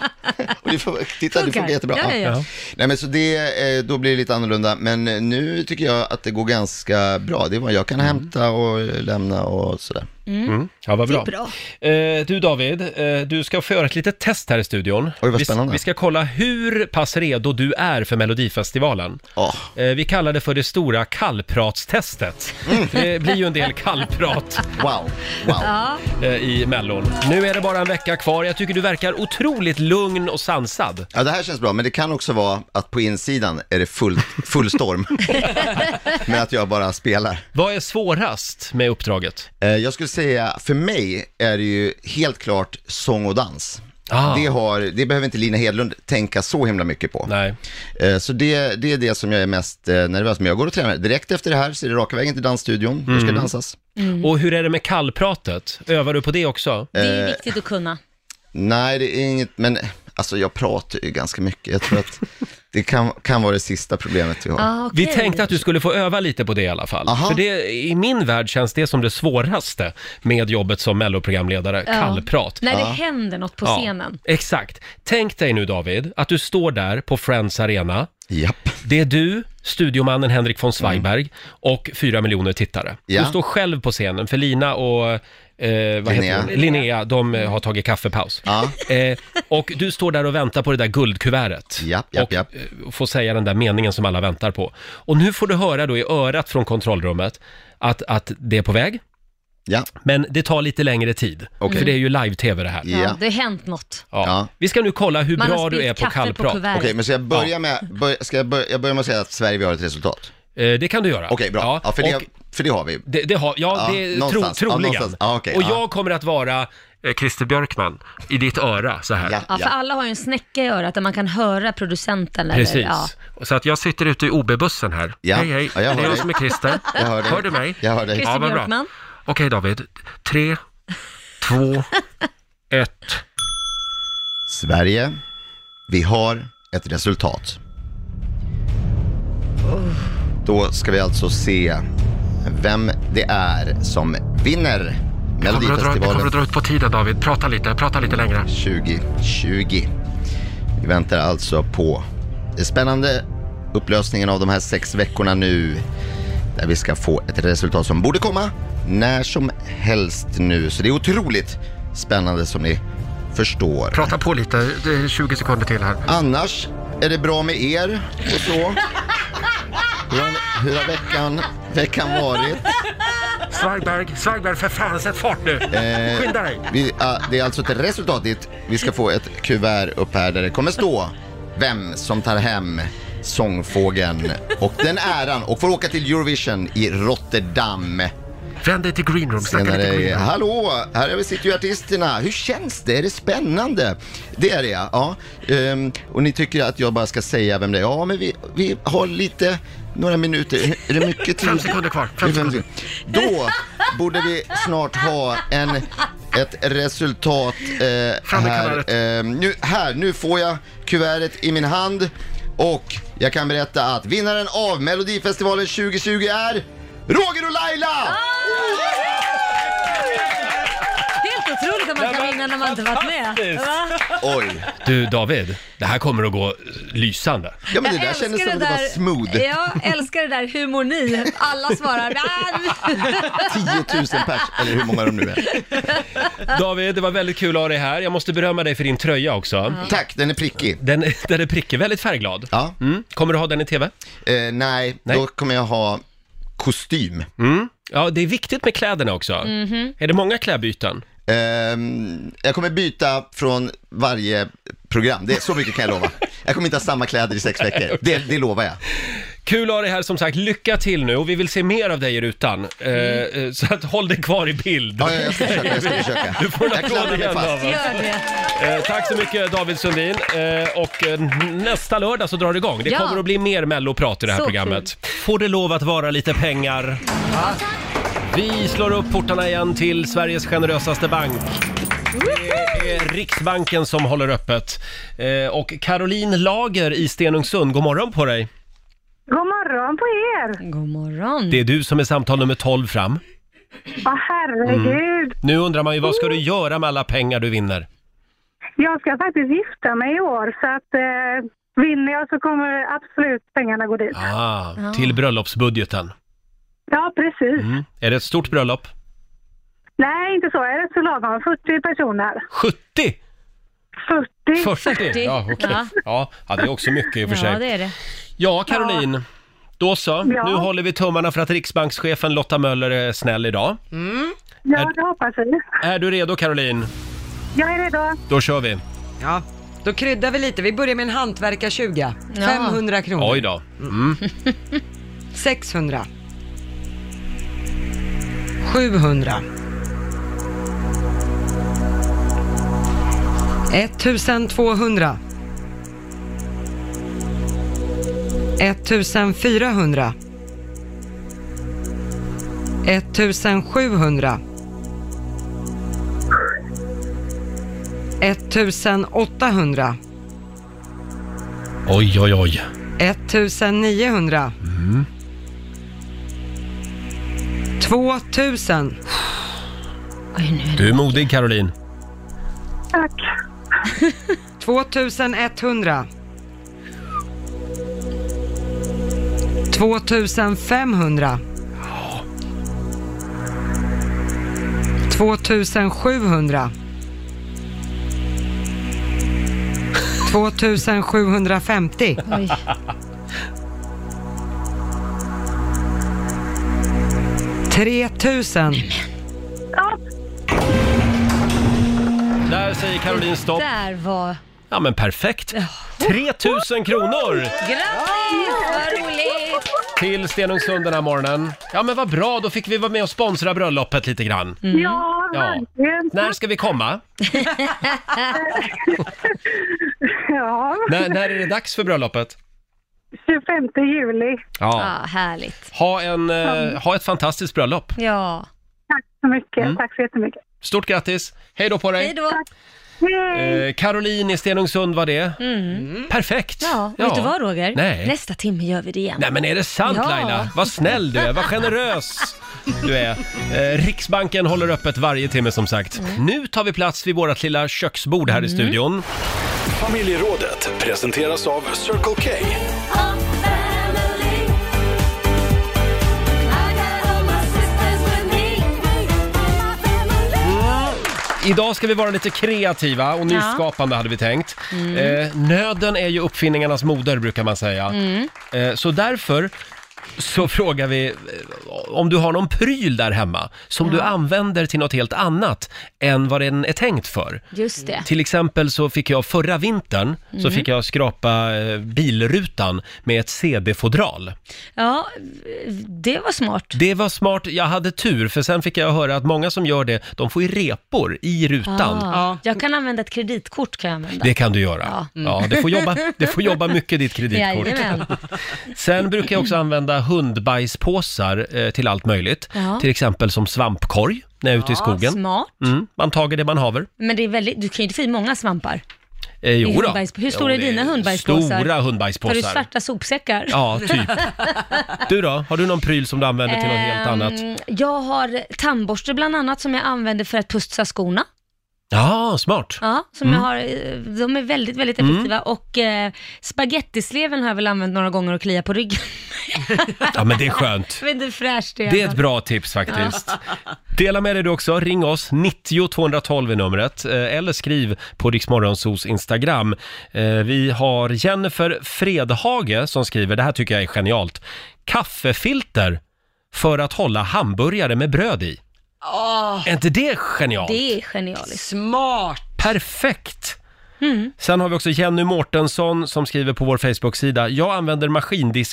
[SPEAKER 9] och det får, titta, det
[SPEAKER 2] Funkar.
[SPEAKER 9] funkar jättebra.
[SPEAKER 2] Ja, ja, ja.
[SPEAKER 1] Ja.
[SPEAKER 9] Nej, men så det, eh, då blir det lite annorlunda, men eh, nu tycker jag att det går ganska bra. Det är vad jag kan hämta och eh, lämna och sådär.
[SPEAKER 1] Ja, vad bra.
[SPEAKER 2] Det är
[SPEAKER 1] Eh, du David, eh, du ska få göra ett litet test här i studion.
[SPEAKER 9] Oj, vad
[SPEAKER 1] vi,
[SPEAKER 9] spännande.
[SPEAKER 1] vi ska kolla hur pass redo du är för Melodifestivalen.
[SPEAKER 9] Ja.
[SPEAKER 1] Eh, vi kallar det för det stora kallpratstestet.
[SPEAKER 9] Mm.
[SPEAKER 1] Det blir ju en del kallprat
[SPEAKER 9] Wow, wow.
[SPEAKER 1] eh, i Mellon. Nu är det bara en vecka kvar. Jag tycker du verkar otroligt lugn och sansad.
[SPEAKER 9] Ja, det här känns bra, men det kan också vara att på insidan är det full, full storm. men att jag bara spelar.
[SPEAKER 1] Vad är svårast med uppdraget?
[SPEAKER 9] Eh, Jag skulle säga, för mig är det ju helt klart sång och dans.
[SPEAKER 1] Ah.
[SPEAKER 9] Det, har, det behöver inte Lina Hedlund tänka så himla mycket på.
[SPEAKER 1] Nej.
[SPEAKER 9] Eh, Så det, det är det som jag är mest eh, nervös med. Jag går och tränar. Direkt efter det här så är det raka vägen till dansstudion. Då
[SPEAKER 1] Mm.
[SPEAKER 9] ska det dansas.
[SPEAKER 2] Mm.
[SPEAKER 1] Och hur är det med kallpratet? Övar du på det också?
[SPEAKER 2] Det
[SPEAKER 9] Eh.
[SPEAKER 2] är viktigt att kunna.
[SPEAKER 9] Nej, det är inget, men alltså jag pratar ju ganska mycket. Jag tror att det kan, kan vara det sista problemet vi har.
[SPEAKER 2] Ah,
[SPEAKER 1] Vi
[SPEAKER 2] okej.
[SPEAKER 1] tänkte att du skulle få öva lite på det i alla fall.
[SPEAKER 9] Aha.
[SPEAKER 1] För det, i min värld känns det som det svåraste med jobbet som melloprogramledare,
[SPEAKER 2] Ja.
[SPEAKER 1] kallprat.
[SPEAKER 2] När det händer något på scenen.
[SPEAKER 1] Ja, exakt. Tänk dig nu David, att du står där på Friends Arena.
[SPEAKER 9] Japp.
[SPEAKER 1] Det är du, studiomannen Henrik von Zweigberg och fyra miljoner tittare.
[SPEAKER 9] Ja.
[SPEAKER 1] Du står själv på scenen, för Lina och eh, vad
[SPEAKER 9] Linnea.
[SPEAKER 1] Heter hon? Linnea, de eh, har tagit kaffepaus.
[SPEAKER 9] Ja.
[SPEAKER 1] Eh, och du står där och väntar på det där guldkuvertet.
[SPEAKER 9] Japp, japp,
[SPEAKER 1] och
[SPEAKER 9] japp.
[SPEAKER 1] eh, får säga den där meningen som alla väntar på. Och nu får du höra då i örat från kontrollrummet att, att det är på väg.
[SPEAKER 9] Ja.
[SPEAKER 1] Men det tar lite längre tid,
[SPEAKER 9] Okej.
[SPEAKER 1] för det är ju live-tv det här.
[SPEAKER 2] Ja,
[SPEAKER 9] Ja.
[SPEAKER 2] Det har hänt något.
[SPEAKER 1] Ja.
[SPEAKER 9] Ja.
[SPEAKER 1] Vi ska nu kolla hur
[SPEAKER 2] Man
[SPEAKER 1] bra
[SPEAKER 2] har
[SPEAKER 1] du
[SPEAKER 2] spillt
[SPEAKER 1] är på
[SPEAKER 2] kaffe
[SPEAKER 1] kallprat.
[SPEAKER 2] på kuvertet.
[SPEAKER 9] Okej, men ska jag börja med, bör, ska jag, bör, jag börjar med att säga att Sverige vi har ett resultat?
[SPEAKER 1] Eh, det kan du göra.
[SPEAKER 9] Okej, bra. Ja, för, det,
[SPEAKER 1] och
[SPEAKER 9] för det har vi.
[SPEAKER 1] det, det har, ja,
[SPEAKER 9] Ja,
[SPEAKER 1] det är tro,
[SPEAKER 9] någonstans. Ja,
[SPEAKER 1] troligen.
[SPEAKER 9] någonstans. Ja, okej,
[SPEAKER 1] och
[SPEAKER 9] ja.
[SPEAKER 1] jag kommer att vara eh, Christer Björkman i ditt öra så här.
[SPEAKER 9] Ja,
[SPEAKER 2] Ja, för
[SPEAKER 9] ja.
[SPEAKER 2] alla har ju en snäcka i örat där man kan höra producenten. Eller,
[SPEAKER 1] Precis.
[SPEAKER 2] Ja.
[SPEAKER 1] Så att jag sitter ute i OB-bussen här.
[SPEAKER 9] Ja.
[SPEAKER 1] Hej, hej.
[SPEAKER 9] Ja, jag hör
[SPEAKER 1] det är jag
[SPEAKER 9] dig.
[SPEAKER 1] som är Christer.
[SPEAKER 9] (laughs) Jag hör dig.
[SPEAKER 1] Hör du mig?
[SPEAKER 9] Jag hör dig.
[SPEAKER 2] Christer
[SPEAKER 1] Ja, vad bra.
[SPEAKER 2] Björkman.
[SPEAKER 1] Okej David, tre,
[SPEAKER 9] (laughs)
[SPEAKER 1] två, ett.
[SPEAKER 9] Sverige, vi har ett resultat. Då ska vi alltså se vem det är som vinner
[SPEAKER 1] Kommer att dra, det kommer
[SPEAKER 9] Melodifestivalen
[SPEAKER 1] att dra ut på tiden David. Prata lite, prata lite längre.
[SPEAKER 9] 2020. Vi väntar alltså på den spännande upplösningen av de här sex veckorna nu. Där vi ska få ett resultat som borde komma när som helst nu. Så det är otroligt spännande som ni förstår.
[SPEAKER 1] Prata på lite, det är 20 sekunder till här.
[SPEAKER 9] Annars är det bra med er och så. Hur har, hur har veckan, veckan varit?
[SPEAKER 1] Svagberg, Svagberg för fan sätt fart nu!
[SPEAKER 9] Eh.
[SPEAKER 1] Skynda dig!
[SPEAKER 9] Vi, ah, det är alltså ett resultat dit. Vi ska få ett kuvert upp här där det kommer stå vem som tar hem sångfågeln och den äran och får åka till Eurovision i Rotterdam.
[SPEAKER 1] Vänd dig till greenroom, snacka lite
[SPEAKER 9] Senare,
[SPEAKER 1] greenroom.
[SPEAKER 9] hallå, här är vi sitter ju artisterna. Hur känns det? Är det spännande? Det är det ja. ja. Ehm, och ni tycker att jag bara ska säga vem det är? Ja, men vi, vi har lite, några minuter. Är det mycket tid?
[SPEAKER 1] Fem sekunder kvar, fem
[SPEAKER 9] Det är Då borde vi snart ha en, ett resultat eh,
[SPEAKER 1] Fram med
[SPEAKER 9] här. Eh, nu, här, nu får jag kuvertet i min hand och jag kan berätta att vinnaren av Melodifestivalen 2020 är Roger och Laila!
[SPEAKER 2] Helt otroligt att man kan vinna när man inte varit med. Va?
[SPEAKER 9] Oj.
[SPEAKER 1] Du David, det här kommer att gå lysande.
[SPEAKER 9] Ja men det
[SPEAKER 2] Jag
[SPEAKER 9] där
[SPEAKER 2] älskar
[SPEAKER 9] kändes som att det var smooth.
[SPEAKER 2] Jag älskar det där, hur mår ni? Alla svarar, "Ah."
[SPEAKER 9] 10 000 pers, eller hur många de nu är.
[SPEAKER 1] David, det var väldigt kul att ha dig här. Jag måste berömma dig för din tröja också.
[SPEAKER 9] Tack, den är prickig.
[SPEAKER 1] Den, den är prickig, väldigt färgglad.
[SPEAKER 9] Ja.
[SPEAKER 1] Mm. Kommer du ha den i TV?
[SPEAKER 9] Eh, nej,
[SPEAKER 1] Nej.
[SPEAKER 9] då kommer jag ha kostym.
[SPEAKER 1] Mm. Ja, det är viktigt med kläderna också. Är det många klädbyten?
[SPEAKER 9] Ehm, jag kommer byta från varje program, det, så mycket kan jag lova. Jag kommer inte ha samma kläder i sex veckor, det, det lovar jag.
[SPEAKER 1] Kul att ha dig här som sagt. Lycka till nu och vi vill se mer av dig i rutan. Eh, eh, så att håll dig kvar i bild.
[SPEAKER 9] Ja, jag, jag ska försöka, jag ska försöka.
[SPEAKER 1] Du får en
[SPEAKER 9] Jag
[SPEAKER 1] applåd
[SPEAKER 9] klamrar mig
[SPEAKER 1] igen
[SPEAKER 9] fast.
[SPEAKER 1] David.
[SPEAKER 2] Gör det.
[SPEAKER 1] Eh, tack så mycket David Sundin. Eh, och eh, nästa lördag så drar det igång. Det
[SPEAKER 2] Ja.
[SPEAKER 1] kommer att bli mer melloprat i det här
[SPEAKER 2] Så
[SPEAKER 1] programmet. Får det lov att vara lite pengar? Vi slår upp portarna igen till Sveriges generösaste bank. Det är Riksbanken som håller öppet. Eh, och Caroline Lager i Stenungsund, god morgon på dig.
[SPEAKER 3] God morgon på er!
[SPEAKER 2] God morgon.
[SPEAKER 1] Det är du som är samtal nummer 12 fram.
[SPEAKER 3] Ja, herregud.
[SPEAKER 1] Nu undrar man ju vad ska du göra med alla pengar du vinner?
[SPEAKER 3] Jag ska faktiskt gifta mig i år, så att eh, vinner jag så kommer absolut pengarna gå dit.
[SPEAKER 1] Ah, till bröllopsbudgeten.
[SPEAKER 3] Ja, precis.
[SPEAKER 1] Mm. Är det ett stort bröllop?
[SPEAKER 3] Nej, inte så. Jag är rätt så lagom. 40 personer.
[SPEAKER 1] 70!
[SPEAKER 3] 40.
[SPEAKER 1] 40? Ja, okej.
[SPEAKER 2] Ja.
[SPEAKER 1] Ja. ja, det är också mycket i och för
[SPEAKER 2] Ja,
[SPEAKER 1] sig.
[SPEAKER 2] det är det.
[SPEAKER 1] Ja, Caroline. Då så.
[SPEAKER 3] Ja.
[SPEAKER 1] Nu håller vi tummarna för att riksbankschefen Lotta Möller är snäll idag.
[SPEAKER 3] Ja, det hoppas vi.
[SPEAKER 1] Är du redo Caroline?
[SPEAKER 3] Jag är redo.
[SPEAKER 1] Då kör vi.
[SPEAKER 7] (laughs) Ja, då kryddar vi lite. Vi börjar med en hantverkar-20.
[SPEAKER 2] Ja.
[SPEAKER 7] 500 kronor.
[SPEAKER 1] Oj då.
[SPEAKER 7] 600. 700. 1200. 1400. 1700. 1800.
[SPEAKER 1] Oj, oj, oj.
[SPEAKER 7] 1900. 2000.
[SPEAKER 2] Oj, nu.
[SPEAKER 1] Du är modig Caroline.
[SPEAKER 3] Tack.
[SPEAKER 7] 2100. 2500. 2700. 2750.
[SPEAKER 2] Oj.
[SPEAKER 7] 3000.
[SPEAKER 3] Ja,
[SPEAKER 1] Där säger Caroline stopp.
[SPEAKER 2] Där var...
[SPEAKER 1] Ja, men perfekt. 3000 kronor!
[SPEAKER 2] Grattis, vad roligt!
[SPEAKER 1] till Stenungsund den här morgonen. Ja men vad bra, då fick vi vara med och sponsra bröllopet lite grann.
[SPEAKER 2] Mm.
[SPEAKER 3] Mm. Ja,
[SPEAKER 1] Ja.
[SPEAKER 3] verkligen.
[SPEAKER 1] När ska vi komma?
[SPEAKER 3] Ja,
[SPEAKER 1] När, när är det dags för bröllopet?
[SPEAKER 3] 25 juli.
[SPEAKER 1] Ja.
[SPEAKER 2] Ja, härligt.
[SPEAKER 1] Ha, en, eh, ha ett fantastiskt bröllop.
[SPEAKER 2] Ja,
[SPEAKER 3] Tack så mycket.
[SPEAKER 1] Mm.
[SPEAKER 3] Tack så jättemycket.
[SPEAKER 1] Stort grattis! Hej då på dig!
[SPEAKER 2] hej då. Mm.
[SPEAKER 3] Hej!
[SPEAKER 1] Eh, Caroline i Stenungsund var det. Mm. Perfekt!
[SPEAKER 2] Ja, vet du vad Roger?
[SPEAKER 1] Nej.
[SPEAKER 2] Nästa timme gör vi det igen.
[SPEAKER 1] Nej men är det sant
[SPEAKER 2] Ja.
[SPEAKER 1] Laila? Vad snäll du är, vad generös du är. Eh, Riksbanken håller öppet varje timme som sagt.
[SPEAKER 2] Mm.
[SPEAKER 1] Nu tar vi plats vid vårt lilla köksbord här i studion.
[SPEAKER 4] Familjerådet presenteras av Circle K.
[SPEAKER 1] Idag ska vi vara lite kreativa och nyskapande hade vi tänkt. Eh, nöden är ju uppfinningarnas moder brukar man säga. Eh, så därför så frågar vi eh, om du har någon pryl där hemma som du använder till något helt annat än vad den är tänkt för.
[SPEAKER 2] Just det.
[SPEAKER 1] Till exempel så fick jag förra vintern så fick jag skrapa eh, bilrutan med ett CD-fodral.
[SPEAKER 2] Ja, det var smart.
[SPEAKER 1] Det var smart, jag hade tur för sen fick jag höra att många som gör det, de får ju repor i rutan.
[SPEAKER 2] Ja. Jag kan använda ett kreditkort kan jag använda.
[SPEAKER 1] alltså. Det kan du göra. Ja,
[SPEAKER 2] Ja. mm.
[SPEAKER 1] det, får jobba, det får jobba mycket ditt kreditkort.
[SPEAKER 2] Jajamän.
[SPEAKER 1] Sen brukar jag också använda hundbajspåsar eh, till allt möjligt.
[SPEAKER 2] Ja.
[SPEAKER 1] Till exempel som svampkorg när jag är ute i skogen.
[SPEAKER 2] Smart.
[SPEAKER 1] Mm, man tager det man haver.
[SPEAKER 2] Men det är väldigt, du kan ju inte få i många svampar.
[SPEAKER 1] Eh, jo då.
[SPEAKER 2] hundbajs- hur stora är
[SPEAKER 1] det
[SPEAKER 2] dina hundbajspåsar?
[SPEAKER 1] Stora
[SPEAKER 2] Tar du
[SPEAKER 1] hundbajspåsar.
[SPEAKER 2] svarta sopsäckar?
[SPEAKER 1] Ja, typ. Du då? Har du någon pryl som du använder till något helt
[SPEAKER 2] Ehm,
[SPEAKER 1] annat?
[SPEAKER 2] Jag har tandborste bland annat som jag använder för att putsa skorna.
[SPEAKER 1] Ja, smart.
[SPEAKER 2] Ja, som
[SPEAKER 1] Mm.
[SPEAKER 2] jag har, eh, de är väldigt, väldigt effektiva. Och eh, spagettisleven har jag väl använt några gånger och klia på ryggen. (laughs)
[SPEAKER 1] Ja, men det är skönt.
[SPEAKER 2] jag vet inte hur fräscht det är.
[SPEAKER 1] Det är ett bra tips faktiskt. (laughs) Dela med dig du också. Ring oss, 90 212 är numret. eh, Eller skriv på Riksmorgonsos Instagram. Eh, Vi har Jennifer Fredhage som skriver, det här tycker jag är genialt. Kaffefilter för att hålla hamburgare med bröd i. Är inte det genialt?
[SPEAKER 2] Det är genialiskt.
[SPEAKER 7] Smart!
[SPEAKER 1] Perfekt!
[SPEAKER 2] Mm.
[SPEAKER 1] Sen har vi också Jenny Mårtensson som skriver på vår Facebook-sida. Jag använder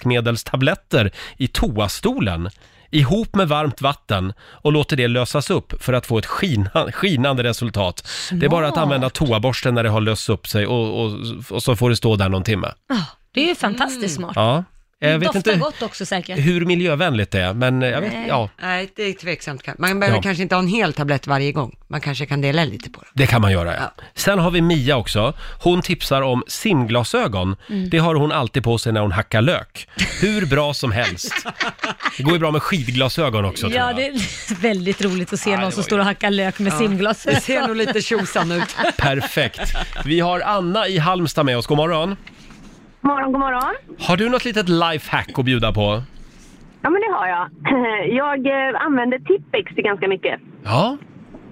[SPEAKER 1] maskindiskmedelstabletter i toastolen ihop med varmt vatten och låter det lösas upp för att få ett skina, skinande resultat. Det är bara att använda toaborsten när det har lösts upp sig och, och, och så får det stå där någon timme.
[SPEAKER 2] Ja, det är ju fantastiskt smart.
[SPEAKER 1] Mm. Ja. Jag vet
[SPEAKER 2] Doftar
[SPEAKER 1] inte
[SPEAKER 2] gott också säkert.
[SPEAKER 1] hur miljövänligt det är, men eh, jag vet, ja,
[SPEAKER 7] Nej, det är tveksamt. kan- Man behöver
[SPEAKER 1] Ja.
[SPEAKER 7] kanske inte ha en hel tablett varje gång. Man kanske kan dela lite på det.
[SPEAKER 1] Det kan man göra, ja. Sen har vi Mia också. Hon tipsar om simglasögon. Det har hon alltid på sig när hon hackar lök. Hur bra som helst. Det går ju bra med skidglasögon också, tror
[SPEAKER 2] Ja,
[SPEAKER 1] jag.
[SPEAKER 2] det är (laughs) väldigt roligt att se någon som står och hackar lök med
[SPEAKER 7] Det ser nog
[SPEAKER 2] simglasögon.
[SPEAKER 7] lite tjosan ut.
[SPEAKER 1] Perfekt. Vi har Anna i Halmstad med oss. God morgon.
[SPEAKER 3] God morgon, god morgon.
[SPEAKER 1] Har du något litet lifehack att bjuda på?
[SPEAKER 3] Ja, men det har jag. (laughs) Jag eh, använder Tippex till ganska mycket.
[SPEAKER 1] Ja,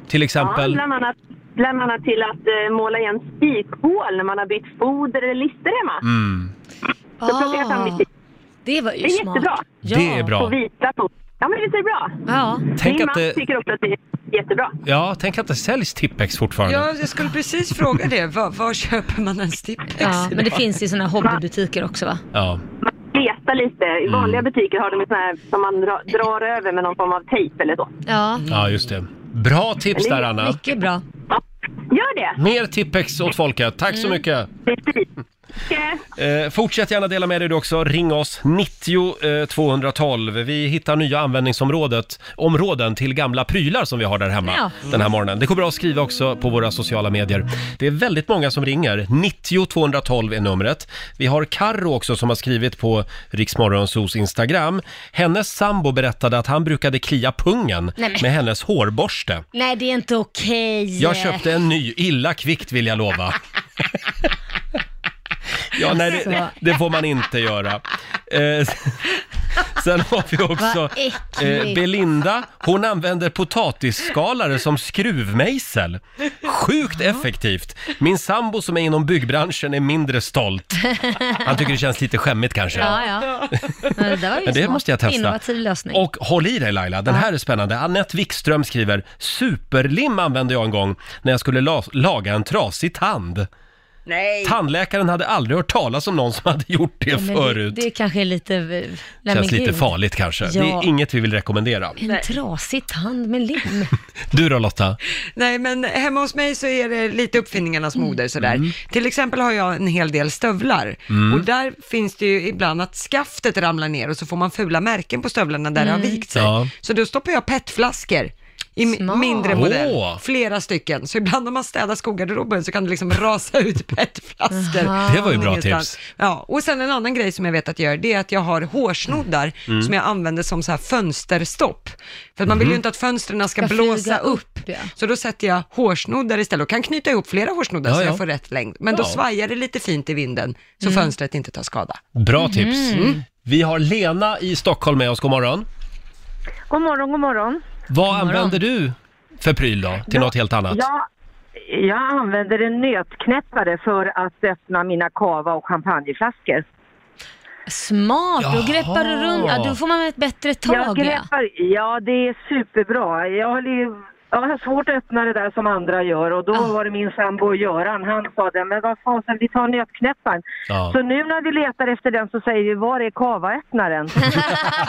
[SPEAKER 1] till
[SPEAKER 3] Ja,
[SPEAKER 1] exempel.
[SPEAKER 3] bland, annat, bland annat till att eh, måla igen spikhål när man har bytt foder eller lister hemma.
[SPEAKER 1] Mm.
[SPEAKER 3] Så plockar jag fram
[SPEAKER 2] (laughs) Ah,
[SPEAKER 3] mitt tips.
[SPEAKER 2] det var
[SPEAKER 3] Det
[SPEAKER 2] ju
[SPEAKER 3] är
[SPEAKER 2] smart.
[SPEAKER 3] jättebra.
[SPEAKER 2] Ja.
[SPEAKER 1] Det är
[SPEAKER 3] På
[SPEAKER 1] bra.
[SPEAKER 3] vita foder. Ja, men visst är det bra?
[SPEAKER 1] (laughs)
[SPEAKER 2] Ja.
[SPEAKER 1] Tänk
[SPEAKER 3] Min
[SPEAKER 1] att
[SPEAKER 3] man
[SPEAKER 1] det,
[SPEAKER 3] tycker också att det är jättebra.
[SPEAKER 1] ja, tänk att det säljs Tippex fortfarande.
[SPEAKER 7] (laughs) Ja, jag skulle precis fråga det. Var, var köper man en Stimpex
[SPEAKER 2] ja, men det
[SPEAKER 7] idag?
[SPEAKER 2] finns ju sådana hobbybutiker också va?
[SPEAKER 1] Ja.
[SPEAKER 3] Leta lite. I vanliga butiker har de en sån här som man dra, drar över med någon form av tejp eller så.
[SPEAKER 2] Ja,
[SPEAKER 1] ja, just det. Bra tips där, Anna.
[SPEAKER 2] mycket bra.
[SPEAKER 3] Ja, gör det!
[SPEAKER 1] Mer Tippex åt folket. Tack
[SPEAKER 3] Mm.
[SPEAKER 1] så mycket.
[SPEAKER 3] Precis. Okej.
[SPEAKER 1] Eh, fortsätt gärna dela med dig du också. Ring oss 90 eh, 212. Vi hittar nya användningsområdet, områden till gamla prylar som vi har där hemma
[SPEAKER 2] Ja.
[SPEAKER 1] den här morgonen. Det går bra att skriva också på våra sociala medier. Det är väldigt många som ringer. 90 212 är numret. Vi har Karro också som har skrivit på Riksmorgonsos Instagram. Hennes sambo berättade att han brukade klia pungen
[SPEAKER 2] Nej, men-
[SPEAKER 1] med hennes hårborste.
[SPEAKER 2] Nej, det är inte okej.
[SPEAKER 1] Jag köpte en ny, illa kvickt vill jag
[SPEAKER 2] (laughs)
[SPEAKER 1] lova. ja, nej, det, det får man inte göra. Eh, sen har vi också
[SPEAKER 2] Vad äckligt.
[SPEAKER 1] eh, Belinda. Hon använder potatisskalare som skruvmejsel. Sjukt effektivt. Min sambo som är inom byggbranschen är mindre stolt. Han tycker det känns lite skämmigt kanske.
[SPEAKER 2] Ja, ja. Men det där var ju
[SPEAKER 1] Men det
[SPEAKER 2] smart.
[SPEAKER 1] måste jag testa.
[SPEAKER 2] Innovativ lösning.
[SPEAKER 1] Och håll i dig Laila, den här är spännande. Annette Wikström skriver, superlim använde jag en gång när jag skulle la- laga en trasig tand.
[SPEAKER 7] Nej.
[SPEAKER 1] Tandläkaren hade aldrig hört talas om någon som hade gjort det
[SPEAKER 2] Men
[SPEAKER 1] förut.
[SPEAKER 2] Det, det kanske är lite... eh, Nej, men
[SPEAKER 1] Känns lite
[SPEAKER 2] gud.
[SPEAKER 1] farligt kanske.
[SPEAKER 2] Ja.
[SPEAKER 1] Det är inget vi vill rekommendera.
[SPEAKER 2] En trasig tand med lim.
[SPEAKER 1] Du då Lotta?
[SPEAKER 7] Nej, men hemma hos mig så är det lite uppfinningarnas
[SPEAKER 1] Mm.
[SPEAKER 7] moder sådär. Till exempel har jag en hel del stövlar
[SPEAKER 1] Mm.
[SPEAKER 7] och där finns det ju ibland att skaftet ramlar ner och så får man fula märken på stövlarna där det har vikt sig.
[SPEAKER 1] Mm. Ja.
[SPEAKER 7] Så då stoppar jag petflaskor i mi-
[SPEAKER 2] Smart.
[SPEAKER 7] mindre modell,
[SPEAKER 1] Åh.
[SPEAKER 7] flera stycken. Så ibland om man städar skogarderoben så kan det liksom
[SPEAKER 1] (laughs)
[SPEAKER 7] rasa ut petflaskor.
[SPEAKER 2] Aha.
[SPEAKER 1] Det var ju bra
[SPEAKER 7] Ingenstans.
[SPEAKER 1] tips.
[SPEAKER 7] Ja, och sen en annan grej som jag vet att jag gör, det är att jag har hårsnoddar
[SPEAKER 1] Mm.
[SPEAKER 7] som jag använder som så här fönsterstopp. För att man
[SPEAKER 1] Mhm.
[SPEAKER 7] vill ju inte att fönstren ska,
[SPEAKER 2] Ska
[SPEAKER 7] blåsa
[SPEAKER 2] flyga
[SPEAKER 7] upp.
[SPEAKER 2] upp, ja.
[SPEAKER 7] Så då sätter jag hårsnoddar istället och kan knyta ihop flera hårsnoddar
[SPEAKER 1] Ja,
[SPEAKER 7] så
[SPEAKER 1] ja.
[SPEAKER 7] jag får rätt längd. Men då
[SPEAKER 1] Ja. Mm.
[SPEAKER 7] svajar det lite fint i vinden så fönstret inte tar skada.
[SPEAKER 2] Mhm.
[SPEAKER 1] Bra tips. Vi har Lena i Stockholm med oss. God morgon.
[SPEAKER 3] God morgon, god morgon.
[SPEAKER 1] Vad
[SPEAKER 2] morgon.
[SPEAKER 1] använder du för pryl då? Till något helt annat?
[SPEAKER 3] Jag, jag använder en nötknäppare för att öppna mina kava och champagneflaskor.
[SPEAKER 2] Smart, då greppar du
[SPEAKER 1] Jaha.
[SPEAKER 2] runt. Ja, då får man ett bättre
[SPEAKER 3] Jag
[SPEAKER 2] tag. Ja.
[SPEAKER 3] greppar, ja, det är superbra. Jag har, ju, jag har svårt att öppna det där som andra gör och då var det min sambo Göran, han sa det, men vad fasen, vi tar nötknäpparen.
[SPEAKER 1] Ja.
[SPEAKER 3] Så nu när vi letar efter den så säger vi, var är (laughs) kavaöppnaren?
[SPEAKER 2] (laughs)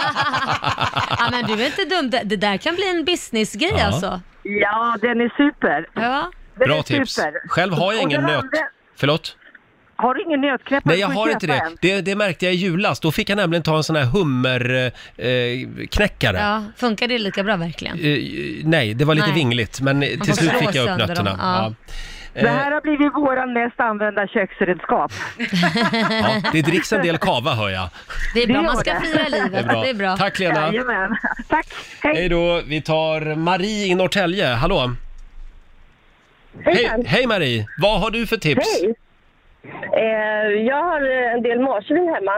[SPEAKER 2] ja, men du är inte dum. Det, det där kan bli en businessgrej
[SPEAKER 1] Ja.
[SPEAKER 2] alltså.
[SPEAKER 3] ja, den är super.
[SPEAKER 2] Ja.
[SPEAKER 1] (laughs)
[SPEAKER 3] Den
[SPEAKER 1] Bra
[SPEAKER 3] är
[SPEAKER 1] tips.
[SPEAKER 3] super.
[SPEAKER 1] Själv har jag
[SPEAKER 3] Och
[SPEAKER 1] ingen
[SPEAKER 3] den
[SPEAKER 1] nöt...
[SPEAKER 3] andra-
[SPEAKER 1] Förlåt?
[SPEAKER 3] Har du ingen nötknäppare?
[SPEAKER 1] Nej, jag
[SPEAKER 3] får du
[SPEAKER 1] har inte
[SPEAKER 3] köpa
[SPEAKER 1] det.
[SPEAKER 3] en.
[SPEAKER 1] det. Det märkte jag i julas. Då fick jag nämligen ta en sån här hummerknäckare. Eh, knäckare.
[SPEAKER 2] ja, funkar det lika bra verkligen?
[SPEAKER 1] Eh, nej, det var lite
[SPEAKER 2] Nej.
[SPEAKER 1] vingligt, men till
[SPEAKER 2] får
[SPEAKER 1] slut
[SPEAKER 2] slå
[SPEAKER 1] fick jag upp
[SPEAKER 2] sönder dem,
[SPEAKER 1] nötterna. Ja.
[SPEAKER 2] ja.
[SPEAKER 3] Det här har blivit våra mest använda köksredskap.
[SPEAKER 1] Ja, det dricks en del kava hör
[SPEAKER 2] (laughs)
[SPEAKER 1] jag.
[SPEAKER 2] Det är bra,
[SPEAKER 3] gör
[SPEAKER 2] man ska
[SPEAKER 3] det.
[SPEAKER 2] fira livet.
[SPEAKER 1] Det är bra. Tack Lena.
[SPEAKER 3] Jajamän. (laughs) Tack,
[SPEAKER 1] Hej
[SPEAKER 3] hej.
[SPEAKER 1] då. Vi tar Marie i Norrtälje. Hallå. Hej,
[SPEAKER 3] Hejsan.
[SPEAKER 1] hej Marie. Vad har du för tips?
[SPEAKER 3] Hej. Eh, jag har eh, en del marsvin hemma.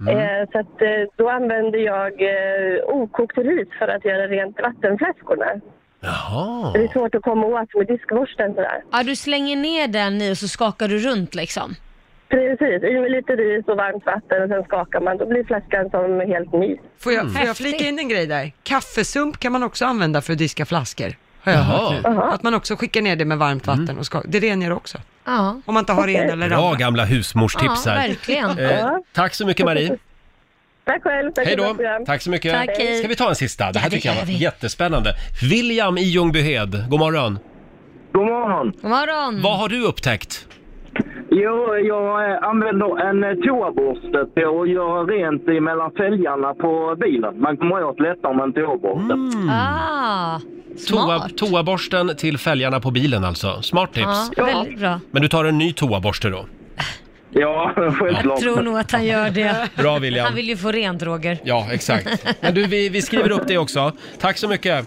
[SPEAKER 1] Mm.
[SPEAKER 3] Eh, så att, eh, då använder jag eh, okokt ris för att göra rent vattenflaskorna.
[SPEAKER 1] Jaha.
[SPEAKER 3] Det är svårt att komma åt med diskborsten sådär.
[SPEAKER 2] Ja, du slänger ner den i och så skakar du runt liksom.
[SPEAKER 3] Precis, i med lite ris och varmt vatten och sen skakar man. Då blir flaskan som helt ny.
[SPEAKER 7] Får
[SPEAKER 1] Mm.
[SPEAKER 7] jag, får jag flika in en grej där? Kaffesump kan man också använda för att diska flaskor. Har jag
[SPEAKER 1] Jaha. Mm.
[SPEAKER 7] hört nu. Att man också skickar ner det med varmt vatten och ska, det rengör också.
[SPEAKER 2] Ja,
[SPEAKER 7] Om man inte har det ena eller det
[SPEAKER 1] Bra
[SPEAKER 7] andra.
[SPEAKER 1] gamla
[SPEAKER 2] ja
[SPEAKER 1] husmorstips här.
[SPEAKER 2] verkligen.
[SPEAKER 1] Eh, tack så mycket Marie.
[SPEAKER 3] Tack själv, tack
[SPEAKER 1] Hej
[SPEAKER 3] för
[SPEAKER 1] då.
[SPEAKER 3] ditt program.
[SPEAKER 1] Tack så mycket.
[SPEAKER 2] Tack, hej.
[SPEAKER 1] Ska vi ta en sista? Det här
[SPEAKER 2] Ja, det
[SPEAKER 1] tycker jag
[SPEAKER 2] gör
[SPEAKER 1] var
[SPEAKER 2] vi.
[SPEAKER 1] jättespännande. William i Ljungbyhed. God morgon.
[SPEAKER 10] God morgon!
[SPEAKER 2] God morgon.
[SPEAKER 1] Vad har du upptäckt?
[SPEAKER 10] Jo, jag eh, använder en eh, toaborste till att göra rent i mellan fälgarna på bilen. Man kommer åt lättare med en toaborste.
[SPEAKER 2] Ah,
[SPEAKER 1] Mm. Toa,
[SPEAKER 2] smart.
[SPEAKER 1] toaborsten till fälgarna på bilen alltså. Smart tips.
[SPEAKER 2] Ja,
[SPEAKER 10] Ja.
[SPEAKER 2] väldigt bra.
[SPEAKER 1] Men du tar en ny toaborste då?
[SPEAKER 10] Ja,
[SPEAKER 2] Jag
[SPEAKER 10] självklart.
[SPEAKER 2] tror nog att han gör det.
[SPEAKER 1] Bra William.
[SPEAKER 2] Han vill ju få rent, Roger.
[SPEAKER 1] Ja, exakt. Men du, vi, vi skriver upp det också. Tack så mycket.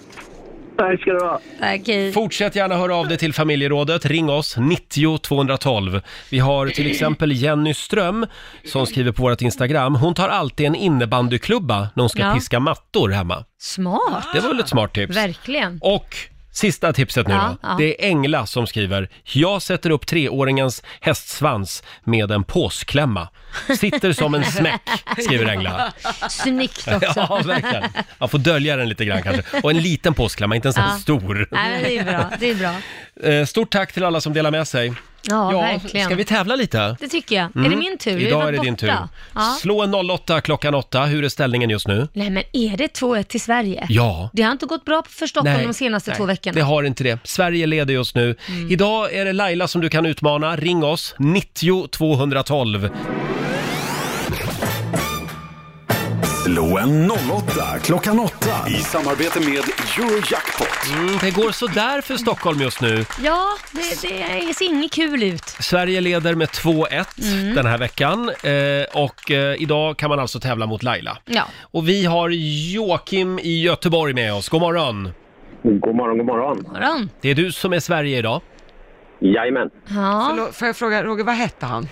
[SPEAKER 10] Tack ska du ha.
[SPEAKER 2] Tack, hej.
[SPEAKER 1] Fortsätt gärna höra av dig till familjerådet. Ring oss, 90 212. Vi har till exempel Jenny Ström som skriver på vårt Instagram. Hon tar alltid en innebandyklubba när hon ska
[SPEAKER 2] Ja.
[SPEAKER 1] piska mattor hemma.
[SPEAKER 2] Smart.
[SPEAKER 1] Det var väl ett smart tips?
[SPEAKER 2] Verkligen.
[SPEAKER 1] Och sista tipset nu
[SPEAKER 2] Ja,
[SPEAKER 1] då.
[SPEAKER 2] ja.
[SPEAKER 1] Det är Engla som skriver. Jag sätter upp treåringens hästsvans med en påsklämma. Sitter som en smäck, skriver
[SPEAKER 2] (laughs)
[SPEAKER 1] Engla.
[SPEAKER 2] Snyggt också.
[SPEAKER 1] (laughs) Ja, verkligen. Man får dölja den lite grann kanske. Och en liten påsklämma, inte en sån
[SPEAKER 2] Ja.
[SPEAKER 1] stor.
[SPEAKER 2] Nej, men det är bra. Det är bra.
[SPEAKER 1] Eh, Stort tack till alla som delar med sig.
[SPEAKER 2] Ja, verkligen.
[SPEAKER 1] Ska vi tävla lite?
[SPEAKER 2] Det tycker jag. Är det min tur? Jag
[SPEAKER 1] Mm. Idag
[SPEAKER 2] var
[SPEAKER 1] är det din tur.
[SPEAKER 2] borta. Ja.
[SPEAKER 1] Slå en 08 klockan 8. Hur är ställningen just nu?
[SPEAKER 2] Nej, men är det 2-1 till Sverige?
[SPEAKER 1] Ja.
[SPEAKER 2] Det har inte gått bra för Stockholm
[SPEAKER 1] Nej,
[SPEAKER 2] de senaste
[SPEAKER 1] nej,
[SPEAKER 2] två veckorna.
[SPEAKER 1] Det har inte det. Sverige leder just nu.
[SPEAKER 2] Mm.
[SPEAKER 1] Idag är det Laila som du kan utmana. Ring oss, Mm, 90 212.
[SPEAKER 4] Slå en 08 klockan 8 i samarbete med Eurojackpot.
[SPEAKER 1] Mm, det går sådär för Stockholm just nu.
[SPEAKER 2] Ja, det, det ser inget kul ut.
[SPEAKER 1] Sverige leder med 2-1
[SPEAKER 2] Mm.
[SPEAKER 1] den här veckan eh, och eh, idag kan man alltså tävla mot Laila.
[SPEAKER 2] Ja.
[SPEAKER 1] Och vi har Joakim i Göteborg med oss. God morgon!
[SPEAKER 10] God morgon, god morgon.
[SPEAKER 2] Morgon.
[SPEAKER 1] Det är du som är Sverige idag.
[SPEAKER 10] Jajamän.
[SPEAKER 2] Ja.
[SPEAKER 7] Förlåt, får jag fråga, Roger, vad hette han?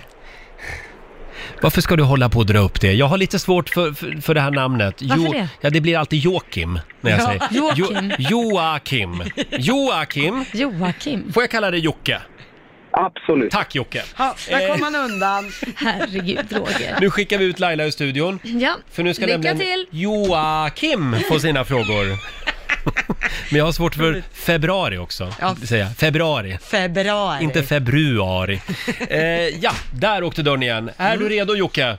[SPEAKER 1] Varför ska du hålla på och dra upp det? Jag har lite svårt för, för, för det här namnet.
[SPEAKER 2] Varför det?
[SPEAKER 1] Ja, det blir alltid Joakim när jag
[SPEAKER 2] Ja,
[SPEAKER 1] säger.
[SPEAKER 2] Joakim.
[SPEAKER 1] Joakim. Joakim.
[SPEAKER 2] Joakim.
[SPEAKER 1] Får jag kalla dig Jocke?
[SPEAKER 10] Absolut.
[SPEAKER 1] Tack Jocke.
[SPEAKER 7] Ja, där kom han undan.
[SPEAKER 2] Herregud, Roger.
[SPEAKER 1] Nu skickar vi ut Laila ur studion.
[SPEAKER 2] Ja,
[SPEAKER 1] För nu ska
[SPEAKER 2] lycka
[SPEAKER 1] nämligen
[SPEAKER 2] till.
[SPEAKER 7] (laughs)
[SPEAKER 1] Joakim få sina frågor. Men jag har svårt för februari också.
[SPEAKER 7] Ja.
[SPEAKER 1] Säger jag. Februari.
[SPEAKER 7] Februari.
[SPEAKER 1] Inte
[SPEAKER 7] (laughs)
[SPEAKER 1] februari. Eh, ja, där åkte dörren igen. Är
[SPEAKER 7] Mm.
[SPEAKER 1] du redo Jocke?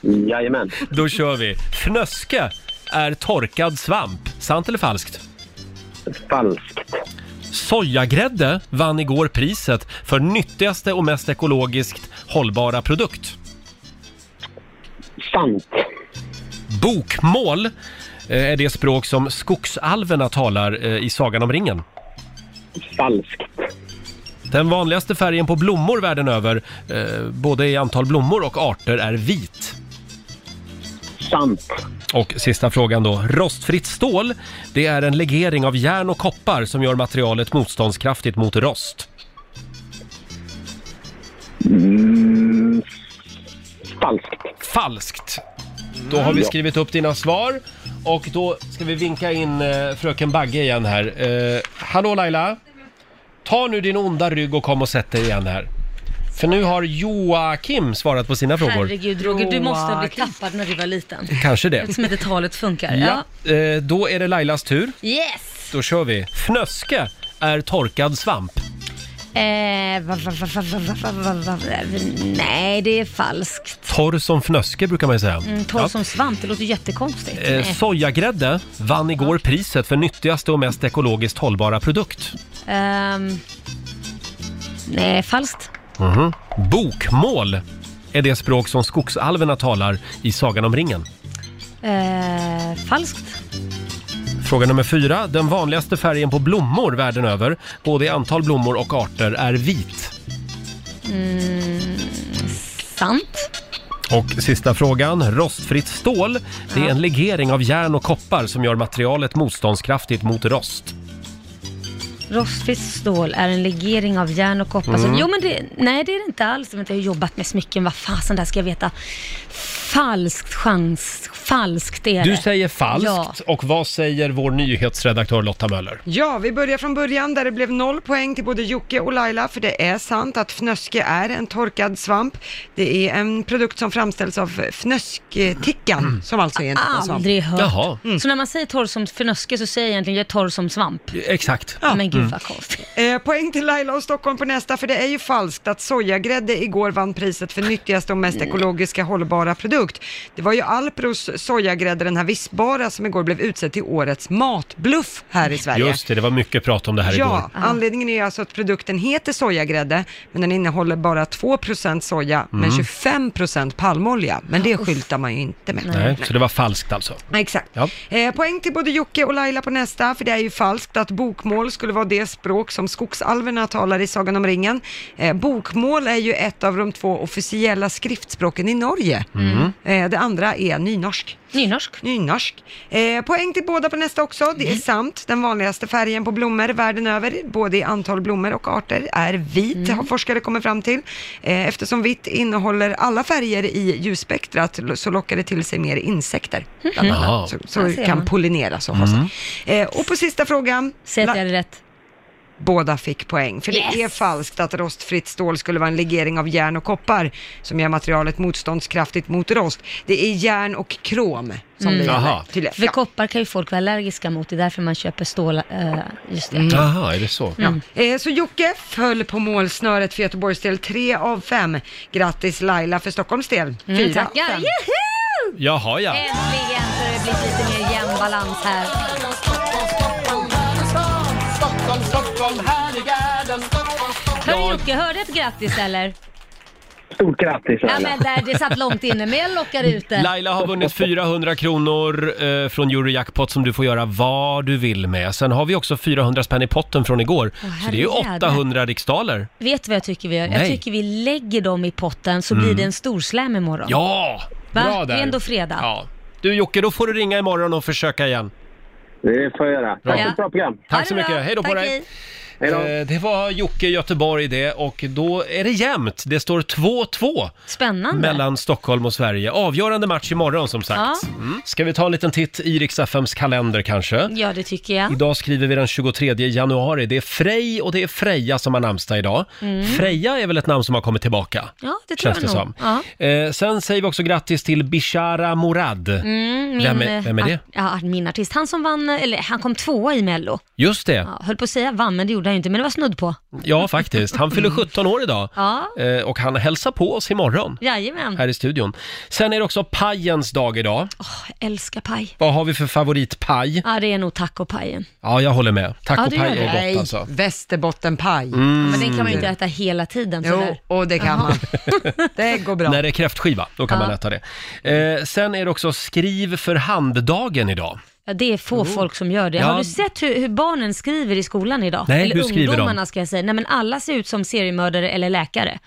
[SPEAKER 10] Jajamän.
[SPEAKER 1] Då kör vi. Fnöske är torkad svamp. Sant eller falskt?
[SPEAKER 10] Falskt.
[SPEAKER 1] Sojagrädde vann igår priset för nyttigaste och mest ekologiskt hållbara produkt.
[SPEAKER 10] Sant.
[SPEAKER 1] Bokmål eh, är det språk som skogsalverna talar eh, i Sagan om ringen.
[SPEAKER 10] Falskt.
[SPEAKER 1] Den vanligaste färgen på blommor världen över, eh, både i antal blommor och arter, är vit.
[SPEAKER 10] Sant.
[SPEAKER 1] Och sista frågan då. Rostfritt stål, det är en legering av järn och koppar som gör materialet motståndskraftigt mot rost.
[SPEAKER 10] Mm. Falskt. Mm.
[SPEAKER 1] Falskt. Då har vi
[SPEAKER 10] Ja.
[SPEAKER 1] skrivit upp dina svar och då ska vi vinka in eh, fröken Bagge igen här. Eh, hallå Laila! Ta nu din onda rygg och kom och sätt dig igen här. För nu har Joakim svarat på sina frågor.
[SPEAKER 2] Herregud Roger, du måste ha blivit
[SPEAKER 7] Joakim.
[SPEAKER 2] tappad när du var liten.
[SPEAKER 1] Kanske det.
[SPEAKER 2] Eftersom inte talet funkar.
[SPEAKER 1] Ja,
[SPEAKER 2] Ja.
[SPEAKER 1] eh, då är det Lailas tur.
[SPEAKER 2] Yes!
[SPEAKER 1] Då kör vi. Fnöske är torkad svamp.
[SPEAKER 2] Eh, va, va, va, va, va, va, va, va, va. Nej, det är falskt.
[SPEAKER 1] Torr som fnöske brukar man ju säga.
[SPEAKER 2] Mm, Torr som svamp, det låter jättekonstigt.
[SPEAKER 1] Eh,
[SPEAKER 2] Nej.
[SPEAKER 1] Sojagrädde vann igår priset för nyttigaste och mest ekologiskt hållbara produkt.
[SPEAKER 2] Ehm, nej, falskt.
[SPEAKER 1] Mhm. Bokmål är det språk som skogsalverna talar i Sagan om ringen.
[SPEAKER 2] Eh, falskt.
[SPEAKER 1] Fråga nummer fyra. Den vanligaste färgen på blommor världen över, både i antal blommor och arter, är vit.
[SPEAKER 2] Mm, sant.
[SPEAKER 1] Och sista frågan. Rostfritt stål, det är en legering av järn och koppar som gör materialet motståndskraftigt mot rost.
[SPEAKER 2] Rostfritt stål är en legering av järn och koppar. som-
[SPEAKER 1] Mm.
[SPEAKER 2] Jo, men det, nej, det är det inte alls. Men jag har jobbat med smycken. Vad fasen, där ska jag veta. Falskt chans. Falskt är det.
[SPEAKER 1] Du säger falskt
[SPEAKER 2] Ja.
[SPEAKER 1] och vad säger vår nyhetsredaktör Lotta Möller?
[SPEAKER 7] Ja, vi börjar från början där det blev noll poäng till både Jocke och Laila, för det är sant att fnöske är en torkad svamp. Det är en produkt som framställs av fnösktickan, som alltså är en torkad svamp.
[SPEAKER 2] Aldrig hört.
[SPEAKER 1] Jaha.
[SPEAKER 7] Mm.
[SPEAKER 2] Så när man säger torr som fnöske så säger jag egentligen jag är torr som svamp.
[SPEAKER 1] Exakt.
[SPEAKER 2] Men gud vad konstigt.
[SPEAKER 7] Eh, poäng till Laila och Stockholm på nästa, för det är ju falskt att sojagrädde igår vann priset för nyttigaste och mest ekologiska hållbara produkt. Det var ju Alpros sojagrädde, den här vispbara, som igår blev utsedd till årets matbluff här i Sverige.
[SPEAKER 1] Just det, det var mycket prat om det här
[SPEAKER 7] Ja,
[SPEAKER 1] igår.
[SPEAKER 7] anledningen är alltså att produkten heter sojagrädde, men den innehåller bara 2% soja,
[SPEAKER 1] Mm.
[SPEAKER 7] men 25% palmolja. Men det skyltar man ju inte med.
[SPEAKER 1] Nej, så det var falskt alltså.
[SPEAKER 2] Mm.
[SPEAKER 7] Ja, Exakt.
[SPEAKER 1] Ja.
[SPEAKER 7] Eh, poäng till både Jocke och Laila på nästa, för det är ju falskt att bokmål skulle vara det språk som skogsalverna talar i Sagan om ringen. Eh, bokmål är ju ett av de två officiella skriftspråken i Norge.
[SPEAKER 1] Mm.
[SPEAKER 7] Eh, det andra är nynorsk.
[SPEAKER 2] Nynorsk.
[SPEAKER 7] Nynorsk. Eh, poäng till båda på nästa också. Det
[SPEAKER 2] Mm.
[SPEAKER 7] är sant. Den vanligaste färgen på blommor världen över, både i antal blommor och arter, är vit,
[SPEAKER 2] Mm.
[SPEAKER 7] har forskare kommit fram till. Eh, eftersom vitt innehåller alla färger i ljusspektrat lo- så lockar det till sig mer insekter. Bland
[SPEAKER 1] Jaha.
[SPEAKER 7] annat. Så,
[SPEAKER 2] Mm-hmm. Där
[SPEAKER 7] så
[SPEAKER 2] ser
[SPEAKER 7] kan
[SPEAKER 2] man. Mm.
[SPEAKER 7] pollineras och ha sig. Eh, och på sista frågan.
[SPEAKER 2] Säg att
[SPEAKER 7] La-
[SPEAKER 2] jag hade rätt.
[SPEAKER 7] Båda fick poäng, för
[SPEAKER 2] Yes!
[SPEAKER 7] det är falskt att rostfritt stål skulle vara en legering av järn och koppar som gör materialet motståndskraftigt mot rost. Det är järn och krom som det
[SPEAKER 1] Jaha.
[SPEAKER 7] gäller. tydligen.
[SPEAKER 2] Mm. För
[SPEAKER 7] Ja.
[SPEAKER 2] koppar kan ju folk vara allergiska mot, det är därför man köper stål, eh, just
[SPEAKER 7] Mm.
[SPEAKER 2] det.
[SPEAKER 1] Jaha, är det så?
[SPEAKER 2] Mm.
[SPEAKER 7] Eh, Så Jocke föll på målsnöret för Göteborgs del, tre av fem. Grattis Laila för Stockholms del, fyra
[SPEAKER 2] Mm,
[SPEAKER 7] av
[SPEAKER 2] tackar.
[SPEAKER 7] fem.
[SPEAKER 2] Juhu!
[SPEAKER 1] Jaha, ja.
[SPEAKER 2] Äntligen så har det blivit lite mer jämn balans här. Hörru Jocke, hörde jag ett grattis eller?
[SPEAKER 10] Stort grattis
[SPEAKER 2] Ja
[SPEAKER 10] alla.
[SPEAKER 2] men där, det satt långt inne, men jag lockar ut det.
[SPEAKER 1] Laila har vunnit 400 kronor eh, från Eurojackpot som du får göra vad du vill med. Sen har vi också 400 spänn i potten från igår. så det är ju
[SPEAKER 2] herrejädrar.
[SPEAKER 1] 800 riksdaler.
[SPEAKER 2] Vet du vad jag tycker vi gör? Jag
[SPEAKER 1] Nej. Mm.
[SPEAKER 2] tycker vi lägger dem i potten så blir det en stor slam imorgon.
[SPEAKER 1] Ja!
[SPEAKER 2] Va?
[SPEAKER 1] Bra
[SPEAKER 2] Det
[SPEAKER 1] där.
[SPEAKER 2] är ändå fredag.
[SPEAKER 1] Ja. Du Jocke, då får du ringa imorgon och försöka igen.
[SPEAKER 10] Det får jag göra. Tack
[SPEAKER 2] Ja.
[SPEAKER 10] för ett bra program.
[SPEAKER 2] Ha
[SPEAKER 1] Tack
[SPEAKER 2] det
[SPEAKER 1] så mycket.
[SPEAKER 2] bra.
[SPEAKER 1] Hej då på
[SPEAKER 2] Tack,
[SPEAKER 1] dig.
[SPEAKER 2] hej.
[SPEAKER 1] Eh, det var Jocke i Göteborg det och då är det jämnt. Det står 2-2
[SPEAKER 2] Spännande.
[SPEAKER 1] mellan Stockholm och Sverige. Avgörande match imorgon som sagt.
[SPEAKER 2] Ja.
[SPEAKER 1] Mm. Ska vi ta en liten titt i Rix FMs kalender kanske?
[SPEAKER 2] Ja, det tycker jag.
[SPEAKER 1] Idag skriver vi den 23 januari. Det är Frej och det är Freja som har namnsdag idag.
[SPEAKER 2] Mm.
[SPEAKER 1] Freja är väl ett namn som har kommit tillbaka?
[SPEAKER 2] Ja, det tror
[SPEAKER 1] Känns det
[SPEAKER 2] jag nog.
[SPEAKER 1] som.
[SPEAKER 2] Ja.
[SPEAKER 1] Eh, sen säger vi också grattis till Bishara Morad.
[SPEAKER 2] Mm, min,
[SPEAKER 1] vem, är, vem är det?
[SPEAKER 2] art- Ja, min artist. Han som vann, eller han kom tvåa i Mello.
[SPEAKER 1] Just det.
[SPEAKER 2] Ja, höll på att säga vann, men det gjorde han ju inte, men det var snudd på.
[SPEAKER 1] Ja, faktiskt. Han
[SPEAKER 2] (laughs)
[SPEAKER 1] fyller 17 år idag.
[SPEAKER 2] Ja,
[SPEAKER 1] Eh, och han hälsar på oss imorgon
[SPEAKER 2] jajamän.
[SPEAKER 1] Mm. här i studion. Sen är det också pajens dag idag.
[SPEAKER 2] Jag älskar paj.
[SPEAKER 1] Vad har vi för favoritpaj?
[SPEAKER 2] Ja, det är nog tacopajen.
[SPEAKER 1] Ja, jag håller med. Tacopaj
[SPEAKER 2] det gör det.
[SPEAKER 1] är gott alltså.
[SPEAKER 7] Västerbottenpaj.
[SPEAKER 1] Mm.
[SPEAKER 2] Men den kan man ju inte äta hela tiden.
[SPEAKER 7] Jo, och det kan man. (laughs)
[SPEAKER 2] (laughs)
[SPEAKER 7] Det går bra.
[SPEAKER 1] När det är kräftskiva, då kan
[SPEAKER 2] Ja.
[SPEAKER 1] man äta det. Eh, sen är det också skriv för hand-dagen idag.
[SPEAKER 2] Ja, det är få
[SPEAKER 1] Jo.
[SPEAKER 2] folk som gör det.
[SPEAKER 1] Ja.
[SPEAKER 2] Har du sett hur, hur barnen skriver i skolan idag?
[SPEAKER 1] Nej,
[SPEAKER 2] eller
[SPEAKER 1] hur skriver de?
[SPEAKER 2] ungdomarna ska jag säga. Nej, men alla ser ut som seriemördare eller läkare.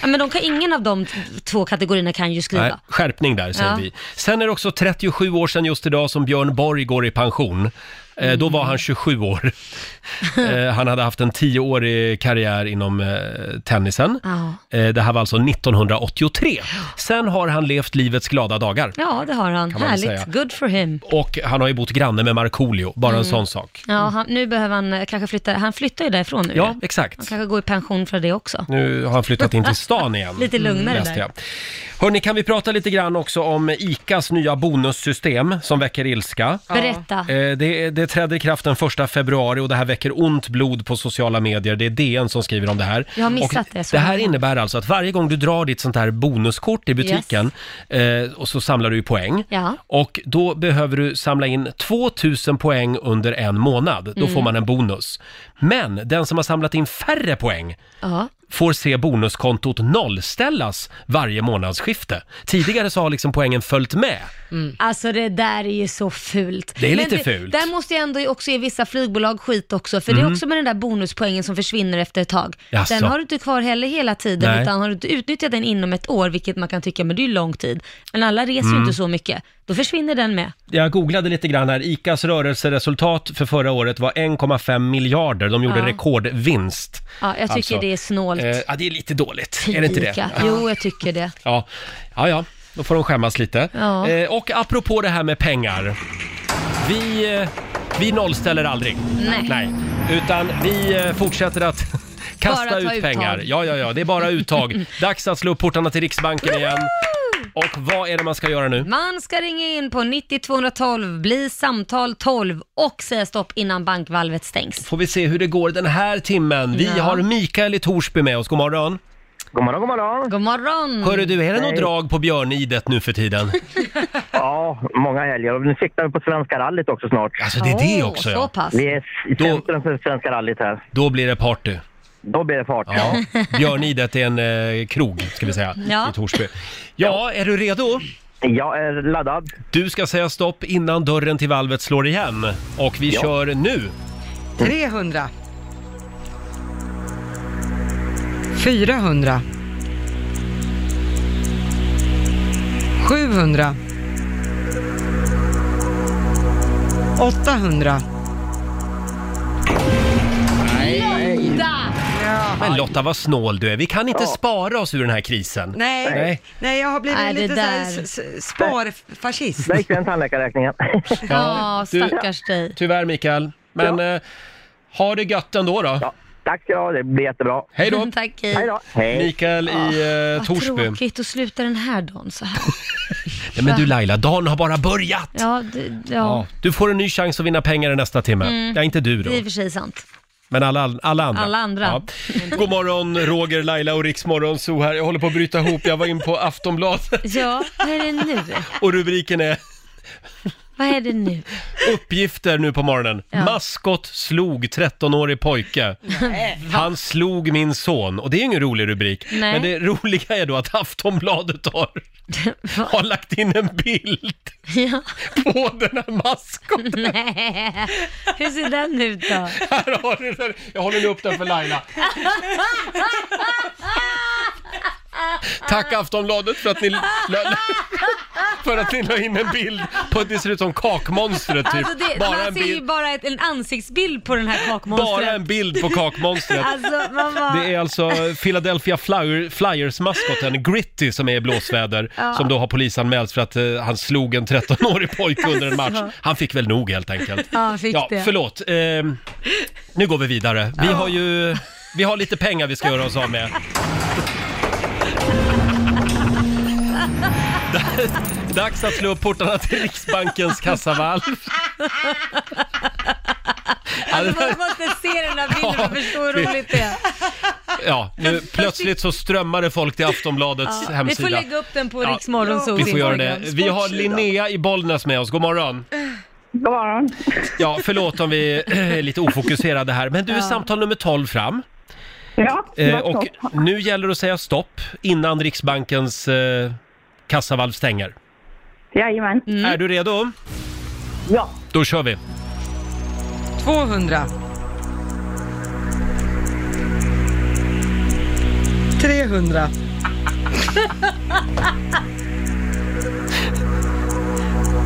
[SPEAKER 2] ja, men de kan, ingen av de t- två kategorierna kan ju skriva.
[SPEAKER 1] Nej, skärpning där, säger
[SPEAKER 2] Ja.
[SPEAKER 1] vi. Sen är det också 37 år sedan just idag som Björn Borg går i pension. Eh, då var han 27
[SPEAKER 2] (laughs)
[SPEAKER 1] år. eh, han hade haft en 10-årig karriär inom eh, tennisen.
[SPEAKER 2] Ja.
[SPEAKER 1] Eh, det här var alltså 1983. Sen har han levt livets glada dagar.
[SPEAKER 2] ja, det har han.
[SPEAKER 1] Kan man väl
[SPEAKER 2] Härligt.
[SPEAKER 1] säga.
[SPEAKER 2] Good for him.
[SPEAKER 1] Och han har ju bott granne med Markoolio, bara en
[SPEAKER 2] Mm.
[SPEAKER 1] sån sak.
[SPEAKER 2] Ja, han, nu behöver han eh, kanske flytta. Han flyttar ju därifrån nu.
[SPEAKER 1] Ja, exakt.
[SPEAKER 2] Han kanske går i pension för det också.
[SPEAKER 1] Nu har han flyttat in till stan igen.
[SPEAKER 2] (laughs) Lite lugnare
[SPEAKER 1] läste
[SPEAKER 2] där.
[SPEAKER 1] jag. Hörni, kan vi prata lite grann också om ICAs nya bonussystem som väcker ilska?
[SPEAKER 2] Berätta.
[SPEAKER 1] Eh, Det, det trädde i kraft den 1 februari och det här väcker ont blod på sociala medier. Det är DN som skriver om det här.
[SPEAKER 2] Jag har missat
[SPEAKER 1] och
[SPEAKER 2] det, så
[SPEAKER 1] Det här
[SPEAKER 2] bra.
[SPEAKER 1] innebär alltså att varje gång du drar ditt sånt här bonuskort i butiken eh, och så samlar du ju poäng.
[SPEAKER 2] Ja.
[SPEAKER 1] Och då behöver du samla in 2000 poäng under en månad. Då
[SPEAKER 2] Mm.
[SPEAKER 1] får man en bonus. Men den som har samlat in färre poäng
[SPEAKER 2] ja.
[SPEAKER 1] får se bonuskontot nollställas varje månadsskifte. Tidigare så har liksom poängen följt med.
[SPEAKER 2] Alltså det där är ju så fult.
[SPEAKER 1] Det är lite fult.
[SPEAKER 2] Där måste jag ändå också ge vissa flygbolag skit också, för det
[SPEAKER 1] Mm.
[SPEAKER 2] är också med den där bonuspoängen som försvinner efter ett tag.
[SPEAKER 1] Jaså.
[SPEAKER 2] Den har du inte kvar heller hela tiden,
[SPEAKER 1] Nej.
[SPEAKER 2] utan har du inte utnyttjat den inom ett år, vilket man kan tycka, men det är ju lång tid. Men alla reser ju
[SPEAKER 1] Mm.
[SPEAKER 2] inte så mycket, då försvinner den med.
[SPEAKER 1] Jag googlade lite grann här. ICAs rörelseresultat för förra året var 1,5 miljarder. De gjorde
[SPEAKER 2] Ja.
[SPEAKER 1] rekordvinst.
[SPEAKER 2] Ja, jag tycker
[SPEAKER 1] Alltså,
[SPEAKER 2] det är snålt.
[SPEAKER 1] eh, ja, det är lite dåligt. är det inte det?
[SPEAKER 2] Ica. Jo, jag tycker det.
[SPEAKER 1] Ja. ja, ja, då får de skämmas lite.
[SPEAKER 2] Ja.
[SPEAKER 1] Eh, och apropå det här med pengar. Vi, eh, vi nollställer aldrig.
[SPEAKER 5] Nej.
[SPEAKER 1] Utan vi eh, fortsätter att (laughs)
[SPEAKER 5] Bara
[SPEAKER 1] kasta
[SPEAKER 5] ta
[SPEAKER 1] ut pengar.
[SPEAKER 5] uttag.
[SPEAKER 1] Ja, ja, ja, det är bara uttag.
[SPEAKER 2] (laughs)
[SPEAKER 1] Dags att slå upp portarna till Riksbanken igen. Och vad är det man ska göra nu?
[SPEAKER 2] Man ska ringa in på 90212, bli samtal 12 och säga stopp innan bankvalvet stängs.
[SPEAKER 1] Får vi se hur det går den här timmen. Vi
[SPEAKER 2] Ja.
[SPEAKER 1] har Mikael i Torsby med oss. God morgon. God morgon, god
[SPEAKER 2] morgon. God morgon.
[SPEAKER 1] Hörru du, är det något drag på björnidet nu för tiden?
[SPEAKER 11] Ja, många helger. Och nu siktar vi på Svenska rallyt också snart.
[SPEAKER 1] Alltså det är det Åh, också, ja. så pass.
[SPEAKER 11] Vi är i centrum för Svenska rallyt här.
[SPEAKER 1] Då blir det party.
[SPEAKER 11] Då blir det fart, ja.
[SPEAKER 1] Björnidet är en eh, krog, ska vi säga,
[SPEAKER 11] Ja.
[SPEAKER 1] i Torsby. Ja, är du redo?
[SPEAKER 11] Jag är laddad.
[SPEAKER 1] Du ska säga stopp innan dörren till valvet slår igen. Och vi
[SPEAKER 7] Ja.
[SPEAKER 1] kör nu.
[SPEAKER 7] 300. 400. 700. 800.
[SPEAKER 2] Lotta!
[SPEAKER 1] Men Lotta, vad snål du är. Vi kan inte
[SPEAKER 7] Ja.
[SPEAKER 1] spara oss ur den här krisen.
[SPEAKER 7] Nej. Nej. jag har blivit
[SPEAKER 2] Nej, det
[SPEAKER 7] lite så här
[SPEAKER 2] där.
[SPEAKER 7] s- s- sparfascist.
[SPEAKER 11] Där gick den
[SPEAKER 1] (laughs)
[SPEAKER 11] tandläkarräkningen.
[SPEAKER 2] Ja,
[SPEAKER 1] du-
[SPEAKER 2] stackars dig.
[SPEAKER 1] Tyvärr Mikael, men eh, ha det gött ändå då.
[SPEAKER 11] Tack ska du ha, det blir jättebra.
[SPEAKER 1] Hej då!
[SPEAKER 2] (laughs) Tack, hej.
[SPEAKER 1] Mikael i eh,
[SPEAKER 2] Ah, Vad
[SPEAKER 1] Torsby.
[SPEAKER 2] tråkigt att sluta den här dagen
[SPEAKER 1] (laughs)
[SPEAKER 2] så här.
[SPEAKER 1] Nej, men du Laila, dagen har bara börjat!
[SPEAKER 2] Ja, det,
[SPEAKER 1] Ja.
[SPEAKER 2] ja.
[SPEAKER 1] Du får en ny chans att vinna pengar i nästa timme.
[SPEAKER 2] Mm.
[SPEAKER 1] Ja, inte du då,
[SPEAKER 2] det är i och för sig sant.
[SPEAKER 1] men alla, alla andra.
[SPEAKER 2] Alla andra. (laughs)
[SPEAKER 1] Ja. God morgon Roger, Laila och Riksmorgon så här. Jag håller på att bryta ihop, jag var in på Aftonbladet
[SPEAKER 2] (laughs) Ja, vad är det nu?
[SPEAKER 1] och rubriken är
[SPEAKER 2] Vad är det nu? (laughs)
[SPEAKER 1] Uppgifter nu på morgonen.
[SPEAKER 2] Ja.
[SPEAKER 1] Maskot slog 13-årig pojke. Han slog min son. Och det är ju ingen rolig rubrik.
[SPEAKER 5] Nej.
[SPEAKER 1] Men det roliga är då att Aftonbladet har, har lagt in en bild på den här maskoten.
[SPEAKER 2] Nej, hur ser den ut då?
[SPEAKER 1] Här har du den. Jag håller nu upp den för Laila. Tack Aftonbladet för att ni la, la, för att ni la in en bild på att ni ser ut som kakmonstret typ.
[SPEAKER 2] Alltså det,
[SPEAKER 1] bara,
[SPEAKER 2] man
[SPEAKER 1] en
[SPEAKER 2] ser ju
[SPEAKER 1] bild,
[SPEAKER 2] bara ett, en ansiktsbild på den här kakmonstret.
[SPEAKER 1] bara en bild på kakmonstret.
[SPEAKER 2] Alltså, man bara...
[SPEAKER 1] Det är alltså Philadelphia Flyer, Flyers-maskoten Gritty som är i blåsväder,
[SPEAKER 2] (laughs) Ja.
[SPEAKER 1] som då har polisanmälts för att eh, han slog en 13-årig
[SPEAKER 2] (laughs)
[SPEAKER 1] pojke under en match.
[SPEAKER 2] Alltså.
[SPEAKER 1] Han fick väl nog helt enkelt.
[SPEAKER 2] Ja, han fick
[SPEAKER 1] ja,
[SPEAKER 2] det.
[SPEAKER 1] Förlåt, Ehm, nu går vi vidare. Vi har ju vi har lite pengar vi ska göra oss av med. (laughs) Dags att slå upp portarna till Riksbankens kassavalv. Ja, det
[SPEAKER 2] Alltså,
[SPEAKER 1] där-
[SPEAKER 2] (laughs) man måste se den här bilden för att förstå hur
[SPEAKER 1] det-
[SPEAKER 2] roligt det är.
[SPEAKER 1] Ja, nu plötsligt så strömmar det folk till Aftonbladets
[SPEAKER 2] Ja. Vi
[SPEAKER 1] (laughs) hemsida.
[SPEAKER 2] får lägga upp den på
[SPEAKER 1] Ja,
[SPEAKER 2] Riks Morgonzoo.
[SPEAKER 1] Vi får göra det.
[SPEAKER 2] Instagram.
[SPEAKER 1] Vi har Linnea i Bollnäs med oss. God morgon.
[SPEAKER 12] God morgon.
[SPEAKER 1] Ja, förlåt om vi är lite ofokuserade här, men du är
[SPEAKER 12] Ja.
[SPEAKER 1] samtal nummer 12 fram.
[SPEAKER 12] Ja, det
[SPEAKER 1] Eh,
[SPEAKER 12] var
[SPEAKER 1] och
[SPEAKER 12] klart.
[SPEAKER 1] nu gäller det att säga stopp innan Riksbankens eh, kassavalv stänger.
[SPEAKER 12] Jajamän.
[SPEAKER 2] Mm.
[SPEAKER 1] Är du redo?
[SPEAKER 12] Ja.
[SPEAKER 1] Då kör vi.
[SPEAKER 7] 200. 300.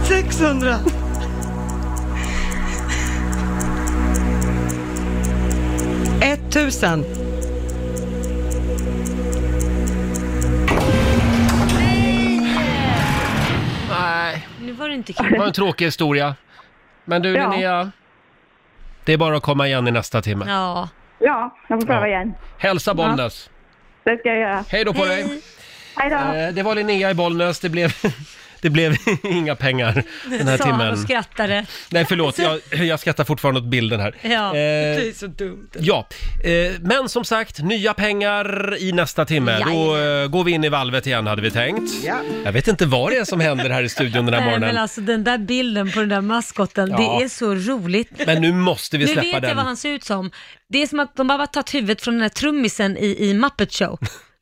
[SPEAKER 7] 600. 1000.
[SPEAKER 1] Nej.
[SPEAKER 2] Nu var det inte
[SPEAKER 1] Det var en
[SPEAKER 2] kul.
[SPEAKER 1] tråkig historia. Men du
[SPEAKER 12] Ja.
[SPEAKER 1] Linnea, det är bara att komma igen i nästa timme.
[SPEAKER 2] Ja.
[SPEAKER 12] Ja, jag får pröva igen.
[SPEAKER 1] Hälsa Bollnäs.
[SPEAKER 12] Det ska jag göra.
[SPEAKER 1] Hej då på dig.
[SPEAKER 12] Hej då.
[SPEAKER 1] Eh, Det var Linnea i Bollnäs, det blev, (laughs) det blev inga pengar den här
[SPEAKER 2] Sa han
[SPEAKER 1] timmen.
[SPEAKER 2] och skrattade.
[SPEAKER 1] Nej förlåt, jag, jag skrattar fortfarande åt bilden här.
[SPEAKER 2] Ja.
[SPEAKER 1] Eh,
[SPEAKER 7] Det är så dumt.
[SPEAKER 1] Ja, eh, men som sagt, nya pengar i nästa timme. Då eh, går vi in i valvet igen hade vi tänkt.
[SPEAKER 2] Ja.
[SPEAKER 1] Jag vet inte vad det är som händer här i studion den här
[SPEAKER 2] Nej, men
[SPEAKER 1] morgonen.
[SPEAKER 2] alltså den där bilden på den där maskotten,
[SPEAKER 1] Ja.
[SPEAKER 2] det är så roligt.
[SPEAKER 1] Men nu måste vi
[SPEAKER 2] nu
[SPEAKER 1] släppa
[SPEAKER 2] vet jag
[SPEAKER 1] den.
[SPEAKER 2] vad han ser ut som. Det är som att de bara tagit huvudet från den här trummisen i, i
[SPEAKER 1] (laughs)
[SPEAKER 2] Muppet Show.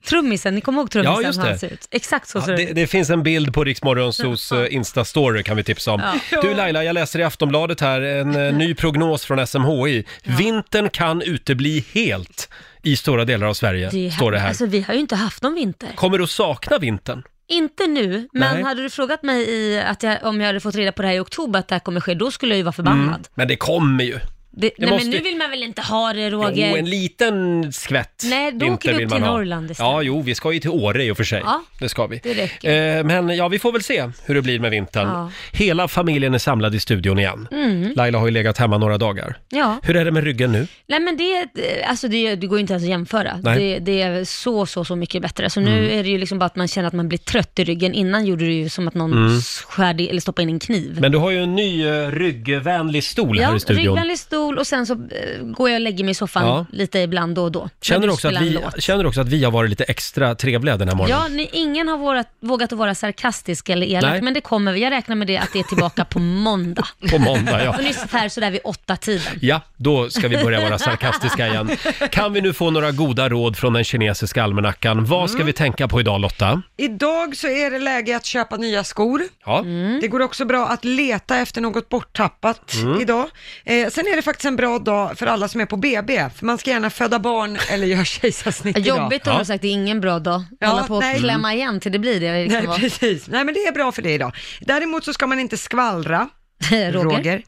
[SPEAKER 2] Trummisen, ni kommer ihåg trummisen
[SPEAKER 1] Ja, just
[SPEAKER 2] hur han
[SPEAKER 1] det.
[SPEAKER 2] ser ut? Exakt så
[SPEAKER 1] Ja,
[SPEAKER 2] ser
[SPEAKER 1] det,
[SPEAKER 2] ut.
[SPEAKER 1] det finns en bild på Riksmorgonsos Insta-story kan vi tipsa om.
[SPEAKER 2] Ja.
[SPEAKER 1] Du Laila, jag läser i Aftonbladet här en eh,
[SPEAKER 2] (laughs)
[SPEAKER 1] ny prognos från SMHI. Vintern kan utebli helt i stora delar av Sverige,
[SPEAKER 2] Det är
[SPEAKER 1] står det här.
[SPEAKER 2] Alltså vi har ju inte haft någon vinter.
[SPEAKER 1] Kommer du att sakna vintern?
[SPEAKER 2] Inte nu, men
[SPEAKER 1] Nej.
[SPEAKER 2] hade du frågat mig i att jag, om jag hade fått reda på det här i oktober att det här kommer ske, då skulle jag ju vara förbannad.
[SPEAKER 1] Mm, men det kommer ju.
[SPEAKER 2] Det, nej
[SPEAKER 1] måste
[SPEAKER 2] men
[SPEAKER 1] ju-
[SPEAKER 2] nu vill man väl inte ha det Roger?
[SPEAKER 1] Jo, en liten skvätt
[SPEAKER 2] Nej, då
[SPEAKER 1] vinter
[SPEAKER 2] åker vi upp
[SPEAKER 1] vill man
[SPEAKER 2] till
[SPEAKER 1] ha.
[SPEAKER 2] Norrland istället.
[SPEAKER 1] Ja, jo, vi ska ju till Åre i och för sig.
[SPEAKER 2] Ja,
[SPEAKER 1] det ska vi.
[SPEAKER 2] det
[SPEAKER 1] Eh, men ja, vi får väl se hur det blir med vintern.
[SPEAKER 2] Ja.
[SPEAKER 1] Hela familjen är samlad i studion igen.
[SPEAKER 2] Mm.
[SPEAKER 1] Laila har ju legat hemma några dagar.
[SPEAKER 2] Ja.
[SPEAKER 1] Hur är det med ryggen nu?
[SPEAKER 2] Nej men det, alltså det, det går ju inte ens att jämföra.
[SPEAKER 1] Nej.
[SPEAKER 2] Det, det är så, så, så mycket bättre. Så nu
[SPEAKER 1] Mm.
[SPEAKER 2] är det ju liksom bara att man känner att man blir trött i ryggen. Innan gjorde det ju som att någon
[SPEAKER 1] Mm.
[SPEAKER 2] skär i- eller stoppade in en kniv.
[SPEAKER 1] Men du har ju en ny eh, ryggvänlig stol här
[SPEAKER 2] ja,
[SPEAKER 1] i studion.
[SPEAKER 2] ryggvänlig stol och sen så eh, går jag och lägger mig i soffan
[SPEAKER 1] Ja.
[SPEAKER 2] lite ibland då och då.
[SPEAKER 1] Känner
[SPEAKER 2] Men
[SPEAKER 1] du, också att
[SPEAKER 2] spelar en
[SPEAKER 1] vi,
[SPEAKER 2] låt.
[SPEAKER 1] känner du också att vi har varit lite extra trevliga den här morgonen?
[SPEAKER 2] Ja, ni, ingen har vårat, vågat att vara sarkastisk eller elak,
[SPEAKER 1] Nej.
[SPEAKER 2] men det kommer vi. Jag räknar med det, att det är
[SPEAKER 1] (laughs)
[SPEAKER 2] tillbaka på måndag.
[SPEAKER 1] På måndag, ja.
[SPEAKER 2] Ungefär sådär vid åtta tiden.
[SPEAKER 1] Ja, då ska vi börja vara sarkastiska igen. Kan vi nu få några goda råd från den kinesiska almanackan? Vad ska
[SPEAKER 2] Mm.
[SPEAKER 1] vi tänka på idag Lotta?
[SPEAKER 7] Idag så är det läge att köpa nya skor.
[SPEAKER 1] Ja.
[SPEAKER 2] Mm.
[SPEAKER 7] Det går också bra att leta efter något borttappat
[SPEAKER 1] Mm.
[SPEAKER 7] idag. Eh, sen är det faktiskt en bra dag för alla som är på BB, för man ska gärna föda barn eller göra kejsarsnitt idag.
[SPEAKER 2] Jobbigt om du sagt det är ingen bra dag. Hålla på och
[SPEAKER 7] nej.
[SPEAKER 2] klämma
[SPEAKER 1] Mm.
[SPEAKER 2] igen till det blir det. liksom. det kan
[SPEAKER 7] Nej,
[SPEAKER 2] vara.
[SPEAKER 7] precis. Nej, men det är bra för det idag. Däremot så ska man inte skvallra.
[SPEAKER 2] (laughs) Eh, Roger.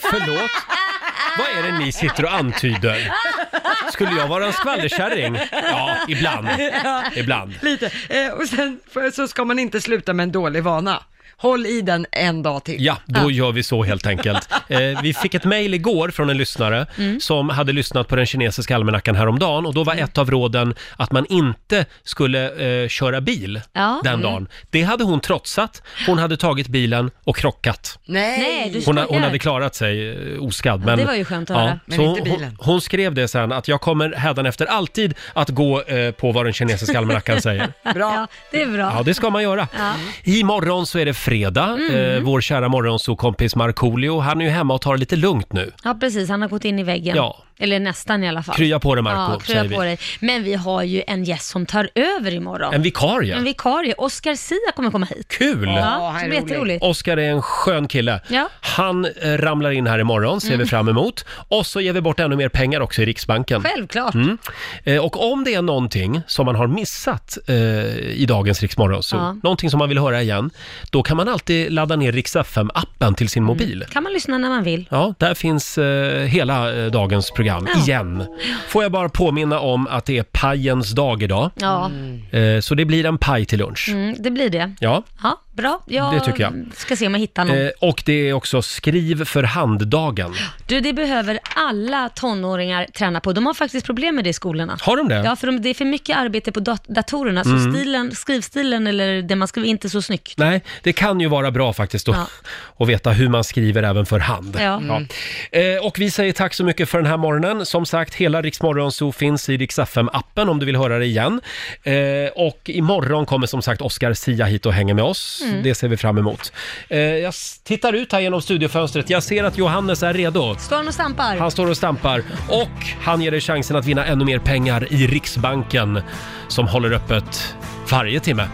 [SPEAKER 1] Förlåt? Vad är det ni sitter och antyder? Skulle jag vara en skvallerkärring? Ja, ibland.
[SPEAKER 7] Ja.
[SPEAKER 1] Ibland.
[SPEAKER 7] (laughs) Lite. Eh, och sen för, så ska man inte sluta med en dålig vana. Håll i den en dag till.
[SPEAKER 1] Ja, då gör vi så helt
[SPEAKER 2] (laughs)
[SPEAKER 1] enkelt. Eh, vi fick ett mejl igår från en lyssnare
[SPEAKER 7] Mm.
[SPEAKER 1] som hade lyssnat på den kinesiska almanackan häromdagen och då var
[SPEAKER 2] Mm.
[SPEAKER 1] ett av råden att man inte skulle eh, köra bil
[SPEAKER 2] Ja.
[SPEAKER 1] den
[SPEAKER 2] Mm.
[SPEAKER 1] dagen. Det hade hon trotsat. Hon hade tagit bilen och krockat.
[SPEAKER 7] Nej,
[SPEAKER 2] du
[SPEAKER 1] Hon, ha-
[SPEAKER 2] skojar.
[SPEAKER 1] hon hade klarat sig eh, oskadd.
[SPEAKER 2] Ja,
[SPEAKER 1] Men,
[SPEAKER 2] det var ju skönt att höra. Men
[SPEAKER 1] Så
[SPEAKER 2] inte
[SPEAKER 1] hon,
[SPEAKER 2] bilen.
[SPEAKER 1] hon skrev det sen, att jag kommer hädanefter alltid att gå eh, på vad den kinesiska almanackan säger.
[SPEAKER 7] Bra.
[SPEAKER 2] (laughs) Ja, det är bra.
[SPEAKER 1] Ja, det ska man göra.
[SPEAKER 2] Ja.
[SPEAKER 1] Imorgon så är det fredag.
[SPEAKER 2] Mm.
[SPEAKER 1] Eh, vår kära morgonsokompis Markoolio, han är ju hemma och tar det lite lugnt nu.
[SPEAKER 2] Ja, precis. Han har gått in i väggen.
[SPEAKER 1] Ja,
[SPEAKER 2] Eller nästan i alla fall.
[SPEAKER 1] Krya på dig, Marco,
[SPEAKER 2] ja, krya
[SPEAKER 1] säger vi.
[SPEAKER 2] på dig. Men vi har ju en gäst som tar över imorgon.
[SPEAKER 1] En vikarie.
[SPEAKER 2] En vikarie. Oscar Sia kommer komma hit.
[SPEAKER 1] Kul!
[SPEAKER 2] Ja, så det blir jätteroligt.
[SPEAKER 1] Oskar är en skön kille.
[SPEAKER 2] Ja.
[SPEAKER 1] Han eh, ramlar in här imorgon, ser vi
[SPEAKER 2] Mm.
[SPEAKER 1] fram emot. Och så ger vi bort ännu mer pengar också i Riksbanken.
[SPEAKER 2] Självklart.
[SPEAKER 1] Mm. Eh, Och om det är någonting som man har missat eh, i dagens Riksmorgon, så
[SPEAKER 2] Ja.
[SPEAKER 1] någonting som man vill höra igen, då kan man alltid ladda ner Rix FM-appen till
[SPEAKER 2] Mm.
[SPEAKER 1] sin mobil.
[SPEAKER 2] Kan man lyssna när man vill.
[SPEAKER 1] Ja, där finns eh, hela eh, dagens program
[SPEAKER 2] Ja.
[SPEAKER 1] igen. Får jag bara påminna om att det är pajens dag idag.
[SPEAKER 2] Ja,
[SPEAKER 1] Eh, så det blir en paj till lunch.
[SPEAKER 2] mm, det blir det.
[SPEAKER 1] Ja.
[SPEAKER 2] Ja, bra. Jag
[SPEAKER 1] Det tycker jag.
[SPEAKER 2] ska se om jag hittar någon.
[SPEAKER 1] Eh, och det är också skriv för hand-dagen.
[SPEAKER 2] Du, det behöver alla tonåringar träna på. De har faktiskt problem med det i skolorna.
[SPEAKER 1] Har de det?
[SPEAKER 2] Ja, för de, det är för mycket arbete på dat- datorerna, så
[SPEAKER 1] Mm.
[SPEAKER 2] stilen, skrivstilen eller det man skriver är inte så snyggt.
[SPEAKER 1] Nej, det kan ju vara bra faktiskt att,
[SPEAKER 2] Ja.
[SPEAKER 1] (laughs) att veta hur man skriver även för hand.
[SPEAKER 2] Ja. Mm.
[SPEAKER 1] Eh, och vi säger tack så mycket för den här morgonen. Som sagt, hela Rix Morgon Zoo finns i Rix FM-appen om du vill höra det igen. Eh, och imorgon kommer som sagt Oscar Sia hit och hänger med oss.
[SPEAKER 2] Mm.
[SPEAKER 1] Det ser vi fram emot. Eh, jag s- tittar ut här genom studiofönstret. Jag ser att Johannes är redo.
[SPEAKER 2] Står han och stampar?
[SPEAKER 1] Han står och stampar och han ger dig chansen att vinna ännu mer pengar i Riksbanken som håller öppet varje timme